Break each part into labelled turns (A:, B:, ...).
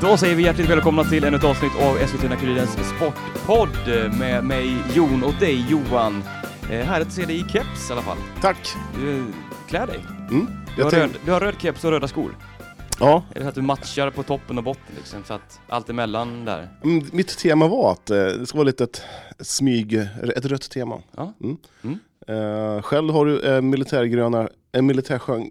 A: Då säger vi hjärtligt välkomna till ännu ett avsnitt av Eskilstuna-Kurirens Sportpodd med mig Jon och dig Johan. Eh, härligt att se dig i keps i alla fall.
B: Tack!
A: Du, klär dig.
B: Mm.
A: Du har,
B: tänk-
A: röd, du har röd keps och röda skor.
B: Ja,
A: Är det så att du matchar på toppen och botten liksom? Så att allt emellan där.
B: mm, mitt tema var att eh, det ska vara lite ett smyg, ett rött tema.
A: Ja.
B: Mm.
A: Mm.
B: Eh, själv har du eh, militärgröna, en militärskön,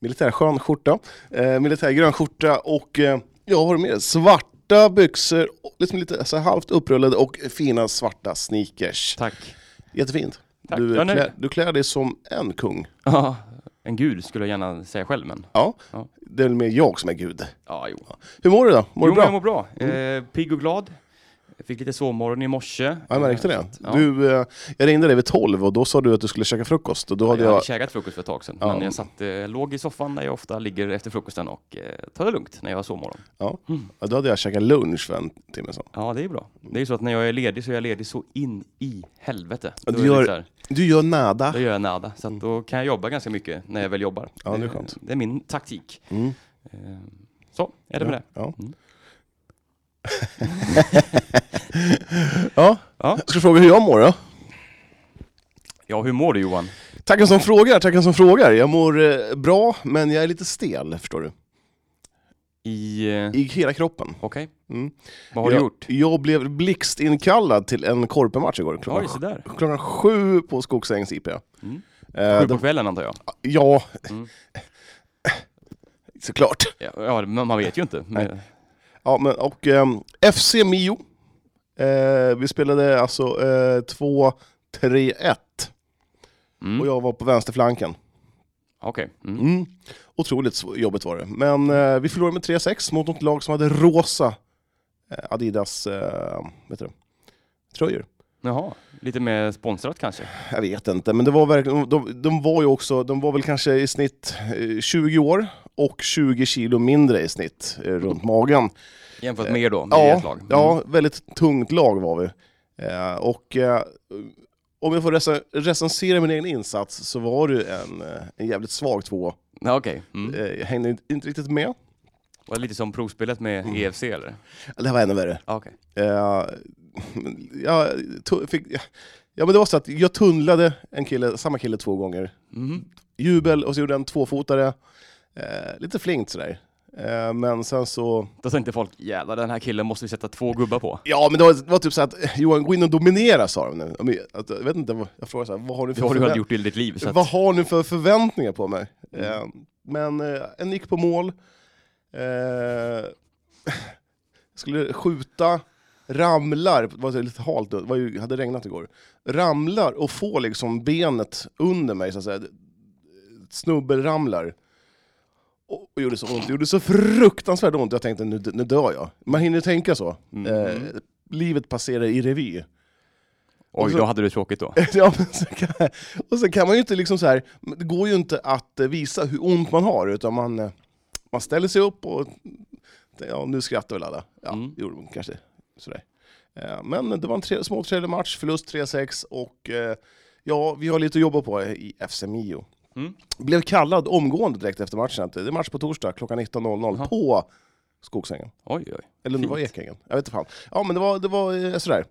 B: militärskön skjorta, eh, militärgrön skjorta och eh, jag har mer svarta byxor, och liksom lite så här halvt upprullade och fina svarta sneakers.
A: Tack.
B: Jättefint.
A: Tack.
B: Du,
A: Jag är nöjd.
B: klär, du klär dig som en kung.
A: Ja, en gud skulle jag gärna säga själv men.
B: Ja,
A: Ja.
B: det är väl mer jag som är gud.
A: Ja, jo.
B: Hur mår du då? Mår
A: jo,
B: du bra?
A: men jag
B: Mm.
A: mår bra. Eh, pigg och glad. Jag fick lite sovmorgon i morse.
B: Ja, jag märkte
A: Eh,
B: det.
A: så att, ja.
B: Du, eh, jag ringde dig vid 12 och då sa du att du skulle käka frukost. Och då hade
A: jag
B: jag...
A: hade käkat frukost för ett tag sedan,
B: Ja.
A: men jag satt, eh, låg i soffan där jag ofta ligger efter frukosten och eh, tar det lugnt när jag har sovmorgon.
B: Ja.
A: Mm.
B: Ja, då hade jag käkat lunch för en timme sedan.
A: Ja, det är bra. Det är ju så att när jag är ledig så är jag ledig så in i helvete. Då,
B: Ja, du
A: är det
B: gör-
A: så här,
B: Du gör nada.
A: då gör jag nada, så att då kan jag jobba ganska mycket när jag väl jobbar. Eh,
B: Ja, det är skönt.
A: Det är min taktik.
B: Mm.
A: Eh, Så, är det med det.
B: Ja.
A: Mm.
B: ja.
A: Ja.
B: Jag ska fråga hur jag mår då.
A: Ja, hur mår du Johan?
B: Tackar som frågar, tackar som frågar. Jag mår eh, bra, men jag är lite stel, förstår du.
A: I... eh,
B: I hela kroppen.
A: Okej,
B: Mm.
A: vad har
B: jag,
A: du gjort?
B: Jag blev blixtinkallad till en korpematch igår.
A: Oj,
B: Klockan,
A: så där.
B: klockan sju på Skogsängs IP.
A: Mm.
B: Eh,
A: Sju
B: det-
A: på kvällen antar jag.
B: ja,
A: Mm.
B: såklart.
A: Ja, Ja, men man vet ju inte. Men,
B: Ja, men och ehm, FC Mio. Eh, vi spelade alltså eh, 2-3-1 och
A: mm.
B: jag var på vänsterflanken.
A: Okej. Mm.
B: Mm. Otroligt sv- jobbigt var det. Men eh, vi förlorade med 3-6 mot något lag som hade rosa eh, Adidas eh, vet du, det, tröjor.
A: Jaha, lite mer sponsrat kanske?
B: Jag vet inte, men det var verkligen, de, de var ju också, de var väl kanske i snitt eh, 20 år och 20 kilo mindre i snitt eh, runt magen.
A: Jämfört med er då, med
B: Eh, Ja,
A: ert lag? Mm.
B: ja, väldigt tungt lag var vi. Eh, och eh, om jag får rec- recensera min egen insats så var det ju en, eh, en jävligt svag två.
A: Ja, Okej. Mm.
B: Eh, jag hängde inte- inte riktigt med.
A: Var det lite som provspelet med
B: Mm.
A: EFC eller?
B: Det här var ännu värre.
A: Ja, Okej.
B: Eh, jag, tu- fick, ja, men det var så att jag tunnlade en kille, samma kille två gånger.
A: Mhm.
B: Jubel och så gjorde jag en tvåfotare. Eh, lite flinkt sådär. Eh, men sen så...
A: Då tänkte folk, jävlar den här killen måste vi sätta två gubbar på.
B: Ja, men det var, det var typ så att Johan, gå in och dominera sa de nu. Ja, men Jag, jag vet inte, vad- jag frågade så här, vad har ni
A: Det
B: för
A: har du
B: förvä-
A: aldrig gjort i ditt liv. Så att, Mm.
B: Vad har ni för förväntningar på mig? Eh, men eh, en nick på mål, eh, skulle skjuta, ramlar, det var så lite halt, då, det var ju, hade regnat igår, ramlar och får liksom benet under mig så att säga, snubbelramlar. Och och gjorde så ont, det gjorde så fruktansvärt ont, jag tänkte nu, nu dör jag. Man hinner tänka så.
A: Mm.
B: Eh, livet passerar i revy Alltså-
A: Oj, då hade du tråkigt då.
B: ja, men så kan, och sen kan man ju inte liksom så här, men det går ju inte att eh, visa hur ont man har, utan man, eh, man ställer sig upp och ja, nu skrattar väl alla. Ja,
A: Mm.
B: det gjorde de kanske. Sådär. Eh, Men det var en tre, småtrevlig match, förlust 3-6 och eh, ja, vi har lite att jobba på i FC Mio.
A: Mm.
B: Blev kallad omgående direkt efter matchen, att det är match på torsdag klockan 19.00
A: Jaha.
B: på Skogsängen.
A: Oj, oj.
B: Eller om det var
A: Fint.
B: Ekängen. Jag vet inte fan. Ja men det var, det var eh, sådär.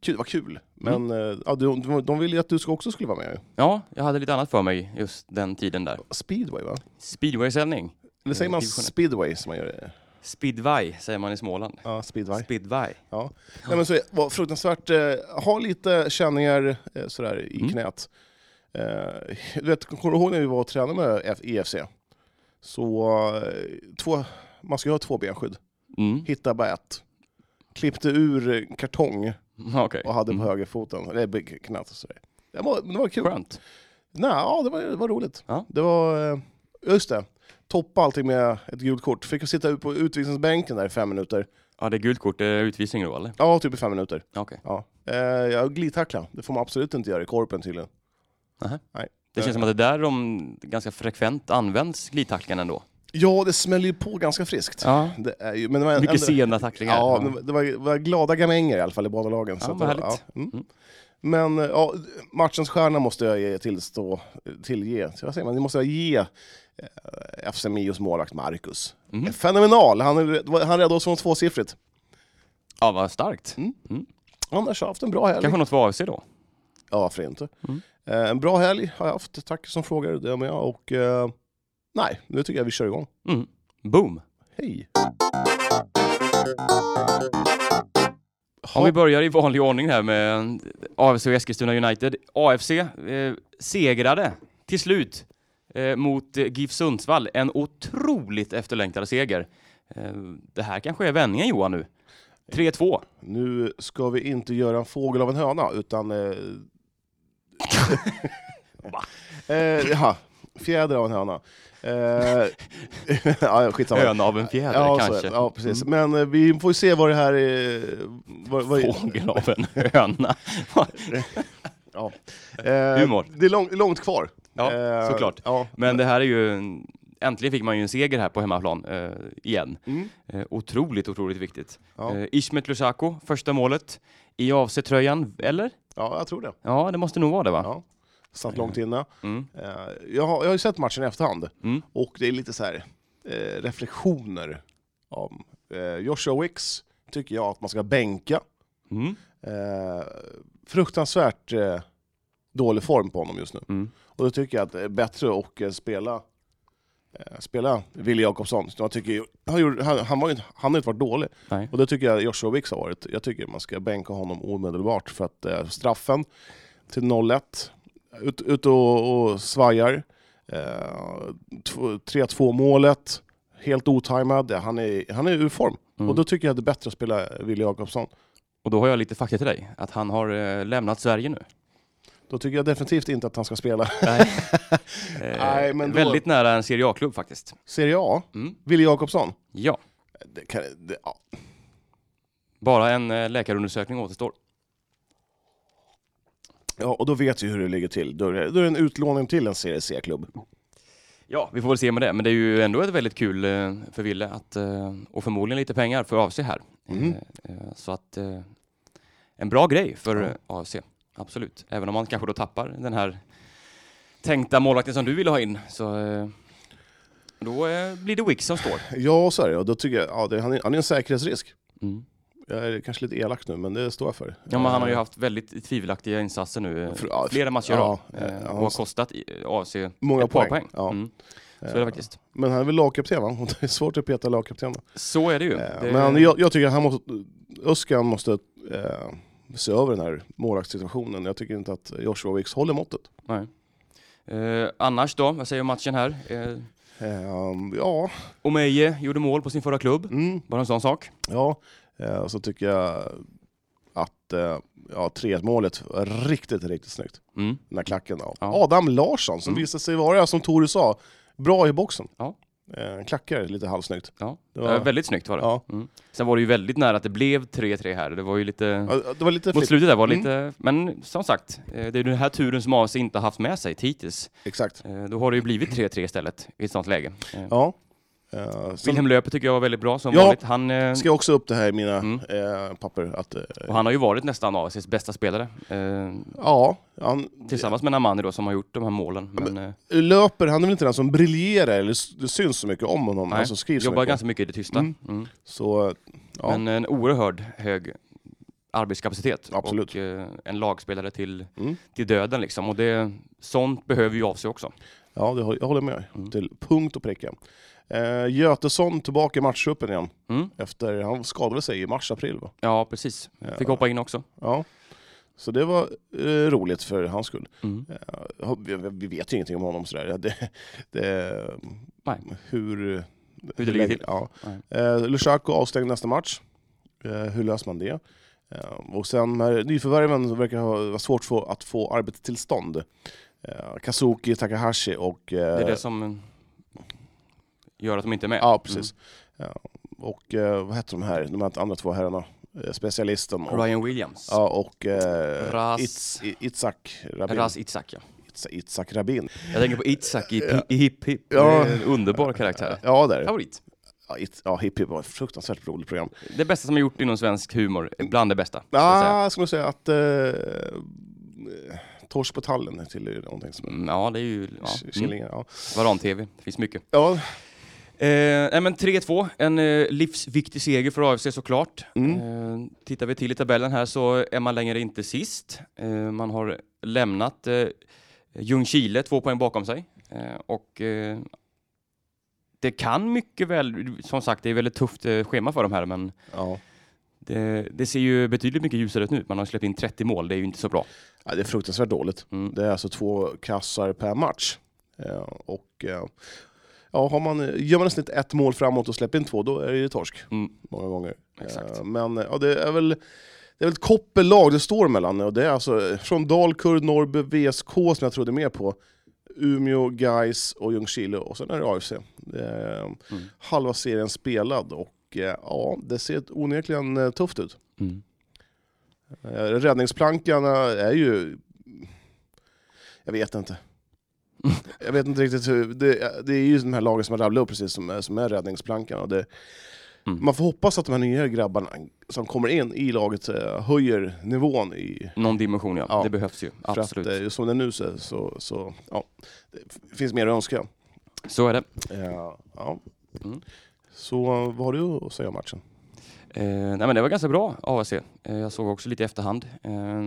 B: Kul, det var kul. Men
A: Mm.
B: eh, ja, du- de, de ville ju att du ska- också skulle vara med.
A: Ja, jag hade lite annat för mig just den tiden där.
B: Speedway va?
A: Speedway-sändning.
B: Eller säger
A: Eh,
B: man
A: division ett.
B: speedway som man gör det?
A: Speedway säger man i Småland.
B: Ja, speedway.
A: Speedway.
B: Ja. Nej, men så är- var fruktansvärt, eh, ha lite känningar eh, sådär i
A: Mm.
B: knät. Eh, du vet, kommer du ihåg när vi var och tränade med F- EFC? Så eh, två, man ska ju ha två benskydd.
A: Mm.
B: Hitta bara ett. Klippte ur eh, kartong
A: Okej.
B: och hade på
A: Mm. högerfoten.
B: högerfoten, eller b- knät. och Sådär. Det var, det var kul.
A: Skönt.
B: Nej, ja, det var, det var roligt.
A: Ja.
B: Det var, eh, just det, toppa allting med ett gult kort. Fick sitta ut på utvisningsbänken där i fem minuter.
A: Ja, det är gult kort, det är utvisning då eller?
B: Ja, typ i fem minuter.
A: Okej.
B: Ja. Eh, jag glidtackla. det får man absolut inte göra i korpen tydligen. Eh.
A: Det känns som att det är där de ganska frekvent används, glidtacklingarna ändå.
B: Ja, det smäller ju på ganska friskt.
A: Ja.
B: Det är ju, men det var
A: Mycket
B: ändå-
A: sena tacklingar.
B: Ja, men det var, det var glada gamänger i alla fall i båda lagen.
A: Ja,
B: att
A: vad
B: det var-
A: härligt.
B: ja, mm.
A: Mm.
B: Men eh, ja, matchens stjärna måste jag ge tillstå, tillge, så vad säger man, det måste jag ge eh, FC Mios målvakt Marcus.
A: Mhm.
B: Fenomenal, han, är- han räddade oss från tvåsiffrigt.
A: Ja, vad starkt.
B: Annars har jag haft en bra helg.
A: Kanske något för AFC då?
B: Ja, varför inte?
A: Mm.
B: Eh, en bra helg har jag haft, tack som frågar, det med jag. Och eh, nej, nu tycker jag vi kör igång.
A: Mm. Boom!
B: Hej!
A: Om
B: Ja.
A: vi börjar i vanlig ordning här med AFC och Eskilstuna United. AFC eh, segrade till slut eh, mot eh, GIF Sundsvall. En otroligt efterlängtad seger. Eh, det här kanske är vändningen Johan nu. 3-2.
B: Nu ska vi inte göra en fågel av en höna, utan... Eh...
A: Va?
B: eh, jaha, fjäder av en höna. Eh... ja, skitsamma.
A: Höna av en fjäder
B: ja, så är det.
A: kanske. Mm.
B: ja, precis. Men eh, vi får ju se vad det här är... Vad, vad...
A: Fågel av en höna.
B: Ja. Eh,
A: Humor.
B: Det är lång, långt kvar. Eh,
A: Ja, såklart.
B: Ja.
A: Men det här är ju... En... Äntligen fick man ju en seger här på hemmaplan eh, igen.
B: Mm.
A: Eh, otroligt, otroligt viktigt.
B: Ja.
A: Eh, Ismet Lusako, första målet i AFC-tröjan, eller?
B: ja, jag tror det.
A: Ja, det måste nog vara det va?
B: Ja. Satt långt inne.
A: Mm.
B: Eh, jag, har, jag har ju sett matchen i efterhand,
A: Mm.
B: och det är lite så här eh, reflektioner. Om, eh, Joshua Wicks tycker jag att man ska bänka.
A: Mm.
B: Eh, fruktansvärt eh, dålig form på honom just nu.
A: Mm.
B: Och då tycker jag att det är bättre att eh, spela eh, spela Wille Jakobsson. Jag tycker, ju- han, gjorde, han, han, var ju, han har ju inte varit dålig.
A: Nej.
B: Och det tycker jag Joshua Wicks har varit. Jag tycker man ska bänka honom omedelbart för att eh, straffen till 0-1, ut, ut och, och svajar. Eh, tv- 3-2 målet, helt otajmad. Han är, han är ur form.
A: Mm.
B: Och då tycker jag att det är bättre att spela Wille Jakobsson.
A: Och då har jag lite fakta till dig, att han har eh, lämnat Sverige nu.
B: Då tycker jag definitivt inte att han ska spela
A: Nej. eh,
B: Nej, men då-
A: Väldigt nära en Serie A-klubb faktiskt.
B: Serie A.
A: Mm.
B: Wille Jakobsson.
A: Ja,
B: Det kan, det, ja.
A: bara en eh, läkarundersökning återstår.
B: ja, och då vet vi hur det ligger till. Då är det, då är det en utlåning till en Serie C-klubb.
A: Ja, vi får väl se med det, men det är ju ändå ett väldigt kul eh, för Ville att, eh, och förmodligen lite pengar för AFC här.
B: Mm.
A: Eh, eh, så att eh, en bra grej för
B: Ja.
A: eh, AFC, absolut. Även om man kanske då tappar den här tänkta målvakten som du ville ha in, så eh, då eh, blir det Wicks som står.
B: Ja, så är det. Och då tycker jag, ja, det, han, är, han är en säkerhetsrisk.
A: Mm.
B: Jag är kanske lite elak nu, men det står jag för.
A: Ja, men han har ju haft väldigt tvivelaktiga insatser nu. eh,
B: För- ja,
A: Flera matcher
B: ja,
A: ja, eh,
B: ja,
A: och
B: han-
A: har kostat i- AFC
B: Många
A: ett par
B: poäng.
A: poäng.
B: Ja. Eh,
A: Mm. Så är det faktiskt.
B: Men han är väl lagkapten, va? Och det är svårt att peta lagkaptenen.
A: Så är det ju.
B: Eh,
A: det...
B: Men jag, jag tycker att han måste, Öskan måste eh, se över den här målvaktssituationen. Jag tycker inte att Joshua Wicks håller måttet.
A: Nej. Eh, annars då, vad säger matchen här? Eh,
B: Eh, ja,
A: Omeje gjorde mål på sin förra klubb.
B: mm,
A: Bara en sån sak.
B: ja. Eh, så tycker jag att eh, ja, 3-1 målet var riktigt, riktigt snyggt.
A: Mm.
B: den här klacken. Av.
A: Ja.
B: Adam Larsson, som
A: Mm.
B: visade sig vara, som Tore sa, bra i boxen.
A: Ja.
B: Eh, klackar lite halvsnyggt.
A: Ja.
B: Det
A: Det var... väldigt snyggt var det.
B: ja.
A: Mm. Sen var det ju väldigt nära att det blev 3-3 här. Det var ju lite...
B: Ja, det var lite
A: Mm. Mot
B: flipp.
A: slutet där var
B: Mm.
A: lite, men som sagt, eh, det är ju den här turen som AFC inte haft med sig hittills.
B: Exakt.
A: Eh, Då har det ju blivit 3-3 istället i ett sånt läge. Eh,
B: Ja. Eh, sen
A: Wilhelm Löper tycker jag var väldigt bra som
B: Ja.
A: vanligt. Han, eh,
B: ska jag också upp det här i mina
A: Mm.
B: eh, papper. Att, eh,
A: och han har ju varit nästan AFCs bästa spelare. Eh,
B: ja, han
A: tillsammans med Namani då som har gjort de här målen. Men, eh,
B: löper, han är väl inte den som briljerar eller s- det syns så mycket om honom.
A: Nej,
B: Alltså skrivs så
A: jobbar
B: mycket.
A: ganska mycket i det tysta.
B: Mm.
A: Mm.
B: Så eh, Ja.
A: Men en oerhörd hög arbetskapacitet.
B: Absolut.
A: Och eh, en lagspelare till,
B: Mm.
A: till döden liksom. Och det, sånt behöver ju AFC också.
B: ja, det, hå- jag håller med.
A: Mm.
B: Till punkt och pricka. Eh, Götesson tillbaka i matchtruppen igen.
A: Mm.
B: Efter, han skadade sig i mars-april va?
A: Ja, precis. Fick
B: Ja.
A: hoppa in också.
B: Ja. Så det var eh, roligt för hans skull.
A: Mm.
B: Ja, vi, vi vet ju ingenting om honom sådär. Ja, Det, det,
A: Nej.
B: Hur,
A: Hur det ligger till.
B: Ja. Eh, Lushako avstängd nästa match. Eh, hur löser man det? Eh, och sen med nyförvärven så verkar det ha- vara svårt få, att få arbetstillstånd. Eh, Kazuki, Takahashi och... Eh,
A: Det är det som eh, gör att de inte är med.
B: Ja, precis.
A: Mm.
B: Ja, och eh, vad heter de här, de här andra två herrarna? Eh, specialisten och...
A: Mm. Ryan Williams.
B: Ja, och eh,
A: Ras-
B: Itz, I- Itzak Rabin.
A: Ras Itzak, ja.
B: Itz, Itzak Rabin.
A: Jag tänker på Itzak i, Pi- i Hipp Hipp.
B: Ja.
A: Det är en underbar karaktär.
B: Ja, där.
A: Favorit.
B: Ja, it, ja Hipp Hipp var ett fruktansvärt roligt program. Ah.
A: Det bästa som har gjort inom svensk humor. Bland det bästa. ska jag säga.
B: Ja, jag skulle säga att eh, eh, torsk på tallen till någonting som...
A: Mm, ja, det är ju... Ja. Mm.
B: Killingar, ja.
A: Varan-TV, det finns mycket.
B: ja.
A: Eh, nej men 3-2, en eh, livsviktig seger för AFC såklart.
B: Mm.
A: Eh, tittar vi till i tabellen här så är man längre inte sist. Eh, man har lämnat eh, Ljungskile två poäng bakom sig. Eh, och eh, det kan mycket väl, som sagt det är väldigt tufft eh, schema för de här men
B: Ja.
A: det, det ser ju betydligt mycket ljusare ut nu. Man har släppt in 30 mål, det är ju inte så bra.
B: ja, det är fruktansvärt dåligt.
A: Mm.
B: Det är alltså två kassar per match. Eh, och eh, ja, har man, gör man i snitt ett mål framåt och släpper in två, då är det ju torsk.
A: Mm.
B: Många gånger.
A: Exakt.
B: Eh, men eh, ja, det är väl det är väl ett koppellag det står mellan. Och det är alltså eh, från Dalkurd, Norrby, VSK som jag trodde mer på. Umeå, Gais och Ljungskile och sen är det AFC. Det är, eh,
A: Mm.
B: Halva serien spelad och eh, ja, det ser onekligen eh, tufft ut.
A: Mm.
B: Eh, Räddningsplankarna är ju... Jag vet inte. Jag vet inte riktigt hur... Det, det är ju de här lagen som jag rabblade upp precis som, är- som är räddningsplankarna. Och det,
A: Mm.
B: Man får hoppas att de här nya grabbarna som kommer in i laget eh, höjer nivån i...
A: Någon dimension ja.
B: Ja.
A: det behövs ju.
B: För
A: Absolut.
B: att eh, som det nu så, så, så ja, det f- finns mer att önska.
A: Så är det.
B: Eh, ja.
A: Mm.
B: Så vad har du att säga om matchen?
A: Eh, nej men det var ganska bra AAC. Eh, jag såg också lite i efterhand. Eh,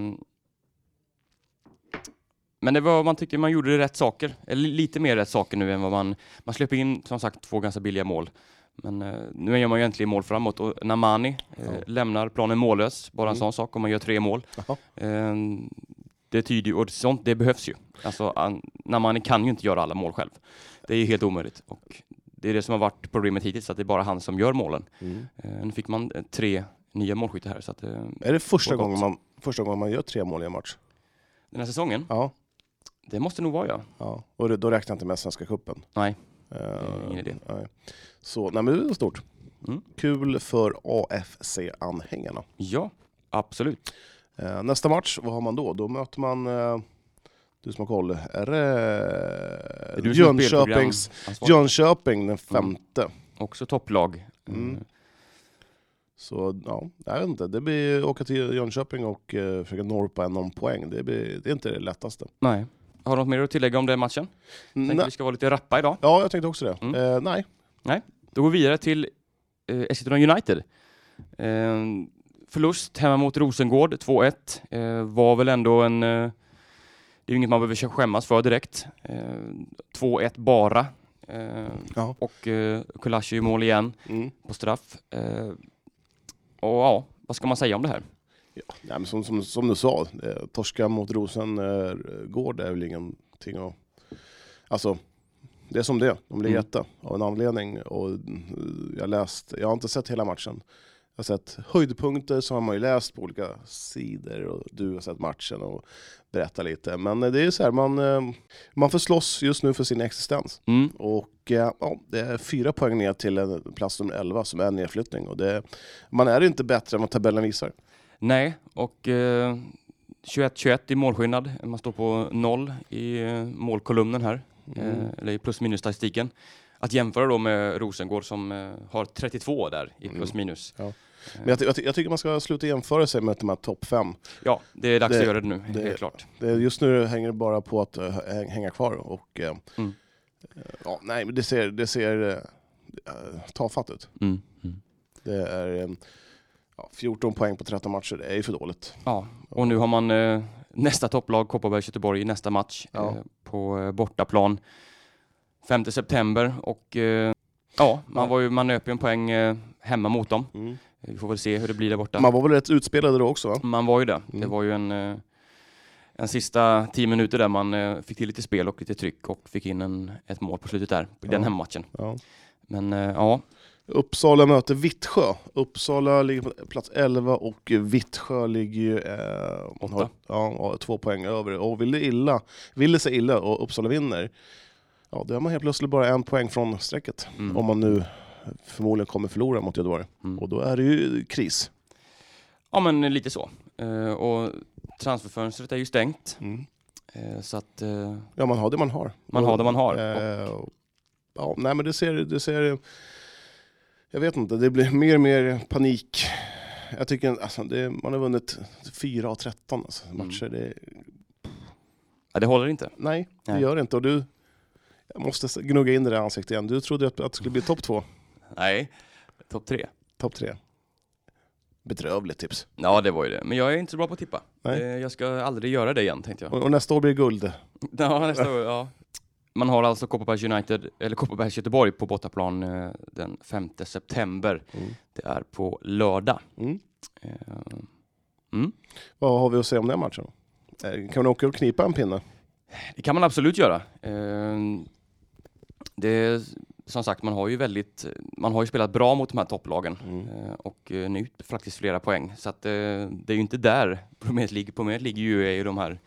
A: men det var, man tyckte man gjorde rätt saker. Eller lite mer rätt saker nu än vad man... Man släpper in som sagt två ganska billiga mål. Men eh, nu gör man ju äntligen mål framåt och Namani eh,
B: Ja.
A: lämnar planen mållös. Bara en
B: Mm.
A: sån sak om man gör tre mål.
B: Jaha.
A: Eh, det tyder ju, och sånt det behövs ju. Alltså an, Namani kan ju inte göra alla mål själv. Det är ju helt omöjligt. Och det är det som har varit problemet hittills, att det är bara han som gör målen. Eh, Nu fick man eh, tre nya målskyttar här, så att, eh,
B: Är det första
A: Vad gott.
B: gången, man, första gången man gör tre mål i en match?
A: den här säsongen,
B: Ja.
A: det måste nog vara jag.
B: Ja, och det- då räknar jag inte med Svenska cupen.
A: Nej,
B: Eh,
A: är ingen idé.
B: Nej. Så, nej men det var stort.
A: Mm.
B: Kul för AFC-anhängarna.
A: Ja, absolut.
B: Eh, nästa match, vad har man då? Då möter man, eh, du som har koll, är det,
A: Det är du som Mm. är
B: Jönköpings,
A: spelprogramansvarig.
B: Jönköping den femte.
A: Också topplag.
B: Mm.
A: Eh,
B: Så ja, jag vet inte. Det blir åka till Jönköping och eh, försöka norpa en någon poäng. Det, blir, det är inte det lättaste.
A: Nej. Har du något mer att tillägga om den matchen? Tänkte
B: Nej.
A: vi ska vara lite rappa idag.
B: Ja, jag tänkte också det.
A: Mm.
B: Eh, nej.
A: Då går vi vidare till eh, Eskilstuna United. Eh, förlust hemma mot Rosengård, 2-1. Eh, var väl ändå en... Eh, det är ju inget man behöver skämmas för direkt. Eh, 2-1 bara. Eh,
B: Ja.
A: och eh, Kulashi i mål igen.
B: Mm.
A: på straff. Eh, och ja, vad ska man säga om det här?
B: Nej, men som, som, som du sa, eh, torska mot Rosengård är väl ingenting att... Alltså, det är som det är. De blir
A: Mm.
B: etta av en anledning. Och mm, jag, läst, jag har inte sett hela matchen. Jag har sett höjdpunkter som har man ju läst på olika sidor och du har sett matchen och berättat lite. Men eh, det är ju så här, man, eh, man får slåss just nu för sin existens.
A: Mm.
B: Och eh, ja, det är fyra poäng ner till eh, plats nummer 11 som är en nedflyttning. Och det, man är inte bättre än vad tabellen visar.
A: Nej, och eh, 21-21 i målskillnad. Man står på noll i eh, målkolumnen här, eh,
B: Mm.
A: eller i plus minus statistiken. Att jämföra då med Rosengård som eh, har 32 där i
B: Mm.
A: plus minus.
B: Men jag, ty- jag, ty- jag tycker man ska sluta jämföra sig med de här topp fem.
A: Ja, det är dags
B: Det-
A: att göra det nu,
B: det-
A: helt klart.
B: Det, just nu hänger det bara på att eh, häng- hänga kvar. Och, eh,
A: Mm.
B: eh, ja, nej, men det ser, det ser eh, tafatt ut.
A: Mm. Mm.
B: Det är eh, ja, 14 poäng på 13 matcher, det är ju för dåligt.
A: Ja, och nu har man eh, nästa topplag, Kopparbergs-Göteborg, i nästa match
B: Ja.
A: eh, på eh, bortaplan. 5 september och eh, ja,
B: Ja.
A: man, var ju, man nöp ju en poäng eh, hemma mot dem. Eh, Vi får väl se hur det blir där borta.
B: Man var väl rätt utspelade då också? Va?
A: Man var ju det. Det
B: Mm.
A: var ju en, eh, en sista tio minuter där man eh, fick till lite spel och lite tryck och fick in en, ett mål på slutet där, i
B: Ja.
A: den hemmamatchen.
B: Ja.
A: Men eh, ja,
B: Uppsala möter Vittsjö. Uppsala ligger på plats 11 och Vittsjö ligger ju eh,
A: Åtta.
B: har- ja, har två poäng över. Och vill det illa, vill det sig illa och Uppsala vinner, ja, då är man helt plötsligt bara en poäng från strecket.
A: mm,
B: Om man nu förmodligen kommer förlora mot Göteborg.
A: mm.
B: Och då är det ju kris.
A: ja men eh, lite så. Eh, och transferfönstret är ju stängt.
B: Mm.
A: Eh, så att eh,
B: Ja, man har det man har.
A: man har det man har. Och,
B: Eh, och- ja, nej men det ser, det ser... Jag vet inte, det blir mer och mer panik.
A: Mm.
B: Jag tycker alltså, det, man har vunnit 4 av 13 alltså, matcher. Det,
A: Ja, det håller inte.
B: Nej, det
A: Nej.
B: gör det inte. Och du, jag måste gnugga in det där ansiktet igen. Du trodde att, att det skulle bli topp två,
A: Nej, topp tre.
B: topp tre. Bedrövligt tips.
A: Ja, det var ju det. Men jag är inte så bra på att tippa.
B: Nej.
A: Eh, Jag ska aldrig göra det igen, tänkte jag.
B: Och, och nästa år blir det guld.
A: Ja, nästa år, ja. Man har alltså Kopparbergs United, eller Kopparbergs Göteborg på bortaplan eh, den 5 september.
B: Mm.
A: Det är på lördag.
B: Mm.
A: Eh, Mm.
B: Vad har vi att säga om den matchen? Eh, Kan man åka och knipa en pinne?
A: Det kan man absolut göra. Eh, Det är, som sagt, man har ju väldigt, man har ju spelat bra mot de här topplagen
B: Mm.
A: eh, och eh, nu faktiskt flera poäng. Så att eh, det är ju inte där problemet ligger. Problemet ligger ju i de här eh,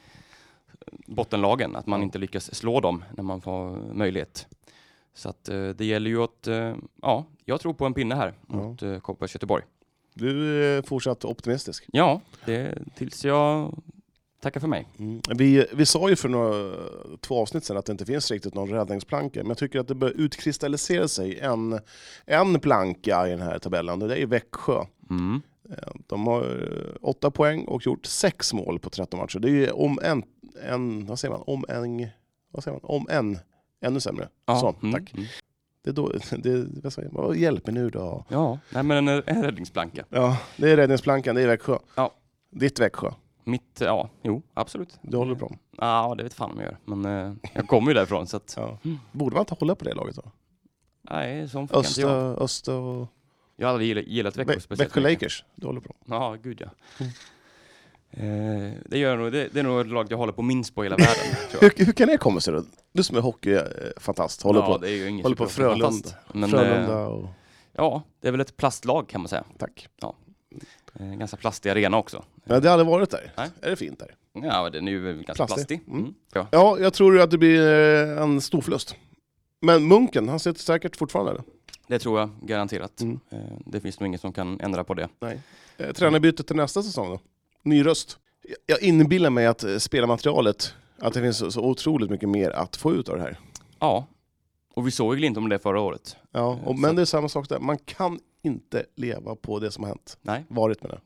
A: bottenlagen, att man inte lyckas slå dem när man får möjlighet. Så att eh, det gäller ju att, eh, ja, jag tror på en pinne här
B: Ja.
A: mot eh, Kopparbergs Göteborg.
B: Du är fortsatt optimistisk.
A: Ja, det tills jag tackar för mig.
B: Mm. Vi, vi sa ju för några, två avsnitt sedan att det inte finns riktigt någon räddningsplanka, men jag tycker att det börjar utkristallisera sig en, en planka i den här tabellen, och det är Växjö.
A: Mm.
B: Eh, De har eh, åtta poäng och gjort sex mål på 13 matcher. Det är ju om en, en vad säger man, om en, vad säger man, om en, ännu sämre. Så,
A: mm,
B: tack.
A: mm.
B: Det är då, det, vad säger man, vad hjälper nu då?
A: Ja, nej, men en, en räddningsplanka.
B: Ja, det är räddningsplankan, det är Växjö.
A: Ja.
B: Ditt Växjö,
A: Mitt, ja, jo, absolut.
B: du håller på dem.
A: Ja, det vet fan om jag gör. Men eh, jag kommer ju därifrån så att,
B: Ja. Borde man inte hålla på det laget då?
A: nej, sån funkar Mm. inte
B: Östa,
A: jag.
B: Östa och...
A: Jag har aldrig gillat, gillat Växjö
B: Vä-
A: speciellt
B: Växjö
A: mycket.
B: Lakers, du håller på dem.
A: Ja, gud ja.
B: Mm.
A: Eh, det, gör jag nog, det, det är nog ett lag jag håller på minst på i hela världen. tror jag.
B: Hur, hur kan det komma sig då? Du som är hockeyfantast, håller
A: ja,
B: på
A: det är ju inget
B: håller på
A: superfantast. Men, Eh,
B: Frölunda och...
A: ja, det är väl ett plastlag kan man säga.
B: Tack.
A: Eh, ganska plastig arena också.
B: Men det har aldrig varit där.
A: Nej.
B: Är det fint där?
A: Ja, den är ju ganska plastig.
B: Plastig.
A: Mm. Ja.
B: Ja, jag tror att det blir eh, en stor förlust. Men Munken, han sitter säkert fortfarande eller?
A: Det tror jag garanterat.
B: Mm.
A: Eh, det finns nog ingen som kan ändra på det.
B: Eh, Tränarbyte till nästa säsong då? Ny röst. Jag- Jag inbillar mig att eh, spelarmaterialet, att det finns så, så otroligt mycket mer att få ut av det här.
A: Ja, och vi såg ju inte om det förra året.
B: Ja,
A: Eh,
B: och,
A: så-
B: men det är samma sak där, man kan inte leva på det som har hänt.
A: Nej.
B: Varit med det.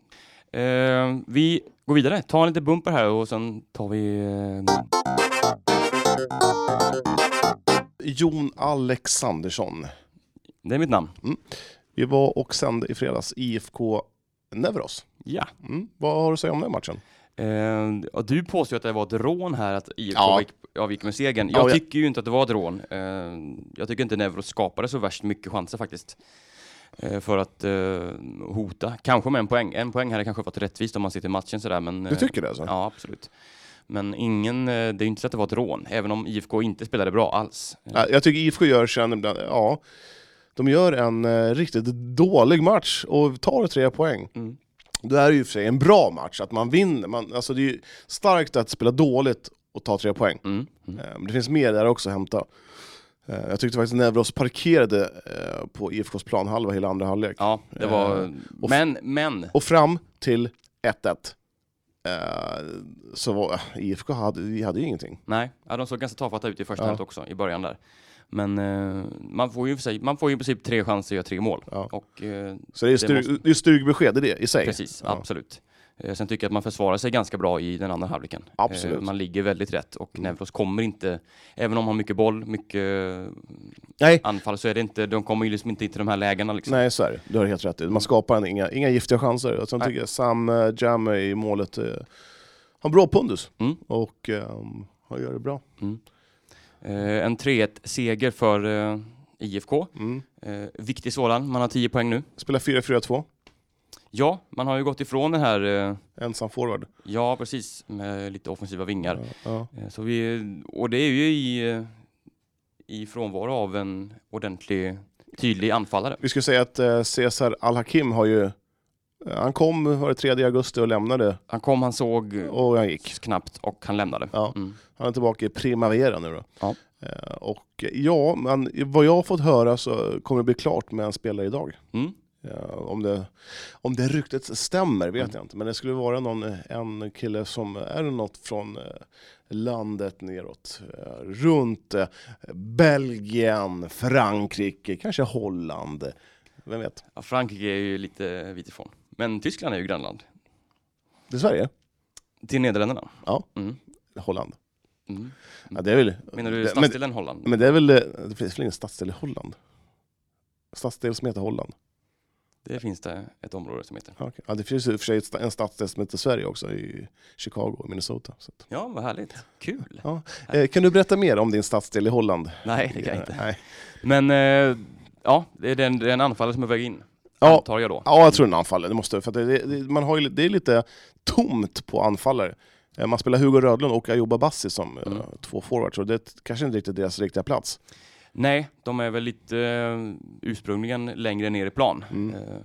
A: Eh, vi går vidare. Ta en liten bumper här och sen tar vi... Eh,
B: Jon Alexandersson.
A: det är mitt namn.
B: Vi var och sände i fredags IFK Nevros.
A: Ja.
B: Mm. Vad har du att säga om den matchen?
A: Eh, och du påstår att det var ett rån här att IFK
B: Ja.
A: gick, ja, gick med segern.
B: Ja,
A: Jag
B: ja.
A: tycker ju inte att det var ett rån. Eh, jag tycker inte Neuro skapade så värst mycket chanser faktiskt. eh, För att eh, hota. Kanske med en poäng. En poäng hade kanske varit rättvist om man sitter i matchen sådär. Men,
B: Du
A: eh,
B: tycker det alltså?
A: Ja, absolut. Men ingen, eh, det är ju inte så att det var ett rån, även om IFK inte spelade bra alls. Eh,
B: Ja, Jag tycker IFK gör sen ibland, ja, de gör en eh, riktigt dålig match och tar tre poäng.
A: Mm.
B: Det här är ju i och för sig en bra match, att man vinner. Man, alltså det är ju starkt att spela dåligt och ta tre poäng.
A: Mm. Mm.
B: Eh, Men det finns mer där också att hämta. Eh, Jag tyckte faktiskt Nevros parkerade eh, på IFKs planhalva hela andra halvlek.
A: Ja, det var...
B: Eh, och f-
A: men, men.
B: Och fram till 1-1 eh, så var, IFK hade, vi hade ju ingenting.
A: Nej, ja, de såg ganska tafatta ut i första
B: Ja.
A: halvlek också, i början där. Men eh, man, får ju i och för sig, man får ju i princip tre chanser att göra tre mål.
B: Ja.
A: Och eh,
B: Så det är ju
A: Det
B: styr,
A: måste-
B: det är styrgbesked i det i sig.
A: precis,
B: Ja.
A: absolut. Eh, sen tycker jag att man försvarar sig ganska bra i den andra halvleken. Eh,
B: Absolut. Mm.
A: man ligger väldigt rätt och Nevros kommer inte, även om han har mycket boll, mycket
B: Nej.
A: anfall, så är det inte, de kommer ju liksom inte till de här lägena liksom.
B: Nej, så är det. Du har helt rätt. i. Man skapar en, inga, inga giftiga chanser. Och sen
A: Nej.
B: tycker jag Sam eh, Jam i målet eh, har bra pundus
A: Mm.
B: och ehm, han gör det bra.
A: Eh, en 3-1-seger för eh, IFK.
B: Mm.
A: Eh, viktig sådan, man har 10 poäng nu.
B: Spelar 4-4-2,
A: Ja, man har ju gått ifrån den här, eh,
B: ensam forward.
A: ja precis, med lite offensiva vingar.
B: Ja.
A: Eh, Så vi, och det är ju i, eh, i frånvaro av en ordentlig, tydlig anfallare.
B: Vi skulle säga att eh, Cesar Al-Hakim har ju... eh, Han kom var det 3 augusti och lämnade
A: Han kom, han såg eh,
B: och han gick.
A: knappt och han lämnade.
B: Ja.
A: Mm.
B: Han är tillbaka i Primavera nu då.
A: Ja.
B: Eh, och eh, ja, men vad jag har fått höra så kommer det bli klart med en spelare idag.
A: Mm.
B: Ja, om, det, om det ryktet stämmer vet
A: Mm.
B: jag inte, men det skulle vara någon, en kille som är något från eh, landet neråt. eh, Runt eh, Belgien, Frankrike, kanske Holland. Vem vet?
A: Ja, Frankrike är ju lite vit ifrån. Men Tyskland är ju grannland.
B: Det är Sverige?
A: Till Nederländerna.
B: Ja.
A: Mm.
B: Holland.
A: Mm.
B: Ja, det är väl,
A: Menar du
B: det-
A: stadsdelen Holland?
B: men, men det är väl, eh, det finns väl ingen stadsdel i Holland? Stadsdel som heter Holland?
A: Det finns det ett område som heter.
B: Ja, okej. ja, det finns ju i och för sig ett sta- en stadsdel som heter Sverige också, i Chicago och Minnesota. Så att,
A: Ja, vad härligt. Kul.
B: ja. eh, kan du berätta mer om din stadsdel i Holland?
A: Nej, det kan jag inte.
B: Nej.
A: Men eh, ja, det är den, den anfallare som är på väg in.
B: Ja.
A: Antar jag då.
B: Ja, jag tror den anfaller. Det, måste, för att det, det, man har ju, det är lite tomt på anfallare. Eh, Man spelar Hugo Rödlund och Ayoub Bassi som eh,
A: Mm.
B: två forwards, och det är t- kanske inte riktigt deras riktiga plats.
A: Nej, de är väl lite eh, ursprungligen längre ner i plan.
B: Mm.
A: Eh,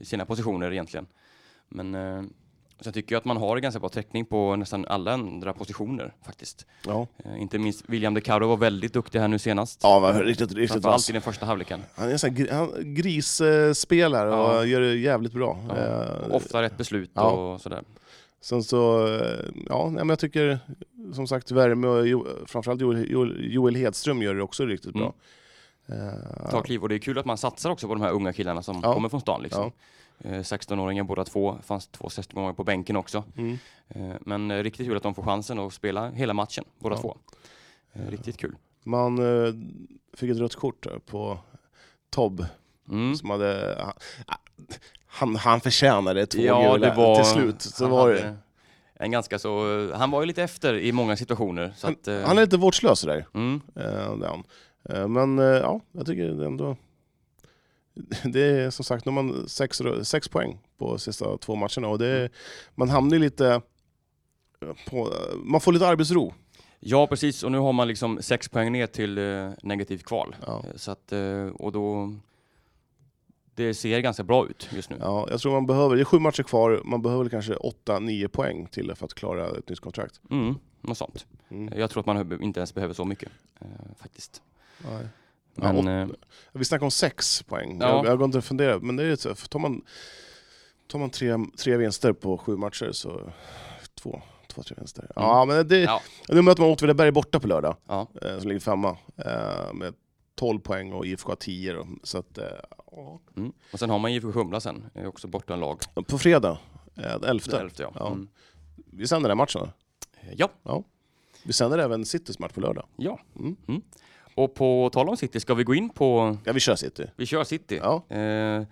A: i sina positioner egentligen. Men eh, sen tycker jag att man har ganska bra täckning på nästan alla andra positioner faktiskt.
B: Ja,
A: Eh, inte minst William De Caro var väldigt duktig här nu senast.
B: ja men riktigt, riktigt
A: Framförallt
B: vass.
A: i den första halvleken.
B: Han är en sån här gri- han- grisspelare och
A: Ja.
B: gör det jävligt bra.
A: Ja.
B: Eh,
A: Ofta rätt beslut
B: Ja.
A: och sådär.
B: Sen så, eh, ja, nej, men jag tycker som sagt Värme och jo, framförallt Joel, Joel, Joel Hedström gör det också riktigt bra.
A: Mm.
B: Eh,
A: Ta kliv. Och det är kul att man satsar också på de här unga killarna som
B: Ja.
A: kommer från stan. Liksom. Eh, 16-åringar båda två. Fanns två 16-åringar på bänken också.
B: mm.
A: Eh, men eh, riktigt kul att de får chansen att spela hela matchen, båda
B: Ja.
A: två. Eh, riktigt kul.
B: Man eh, fick ett rött kort där på Tobb
A: Mm.
B: som hade... Han, han, han förtjänade två gula till slut. Så
A: han
B: var det.
A: hade En ganska så, eh, han var ju lite efter i många situationer. Så att, eh,
B: Han är lite vårdslös där.
A: mm,
B: Eh, det är han. Eh, men eh, ja, jag tycker det är ändå... Det är som sagt, nu har man sex, rö- sex poäng på sista två matcherna och det är, man hamnar ju lite... eh, På, man får lite arbetsro.
A: ja, precis. Och nu har man liksom sex poäng ner till eh, negativt kval.
B: Ja.
A: Eh, Så att, eh, och då, det ser ganska bra ut just nu.
B: Ja, jag tror man behöver, det är sju matcher kvar, man behöver kanske åtta, nio poäng till för att klara ett nytt kontrakt.
A: Mm, något sånt.
B: Mm.
A: Jag tror att man hö- inte ens behöver så mycket eh, faktiskt.
B: Nej. Ja,
A: Men, eh,
B: Vi snackar om sex poäng.
A: Ja.
B: Jag, jag går inte att fundera, men det är ju så. För tar man, tar man tre, tre vinster på sju matcher så... Två, två tre vinster. Ja, men det,
A: Mm. Ja.
B: Nu möter man Åtvidaberg borta på lördag,
A: ja.
B: eh, som ligger femma. Eh, med 12 poäng och IFK har 10. Då, så att, eh, ja.
A: Mm. Och sen har man IFK Kumla sen, är också borta en lag.
B: På fredag, eh, den 11.
A: Elfte, ja.
B: Ja.
A: Mm.
B: Vi sänder den här matchen. va?
A: Eh, ja.
B: Vi sänder även Citys match på lördag.
A: ja.
B: Mm.
A: Mm. Och på tal om City, ska vi gå in på,
B: Ja, vi kör City.
A: vi kör City.
B: Ja.
A: Eh,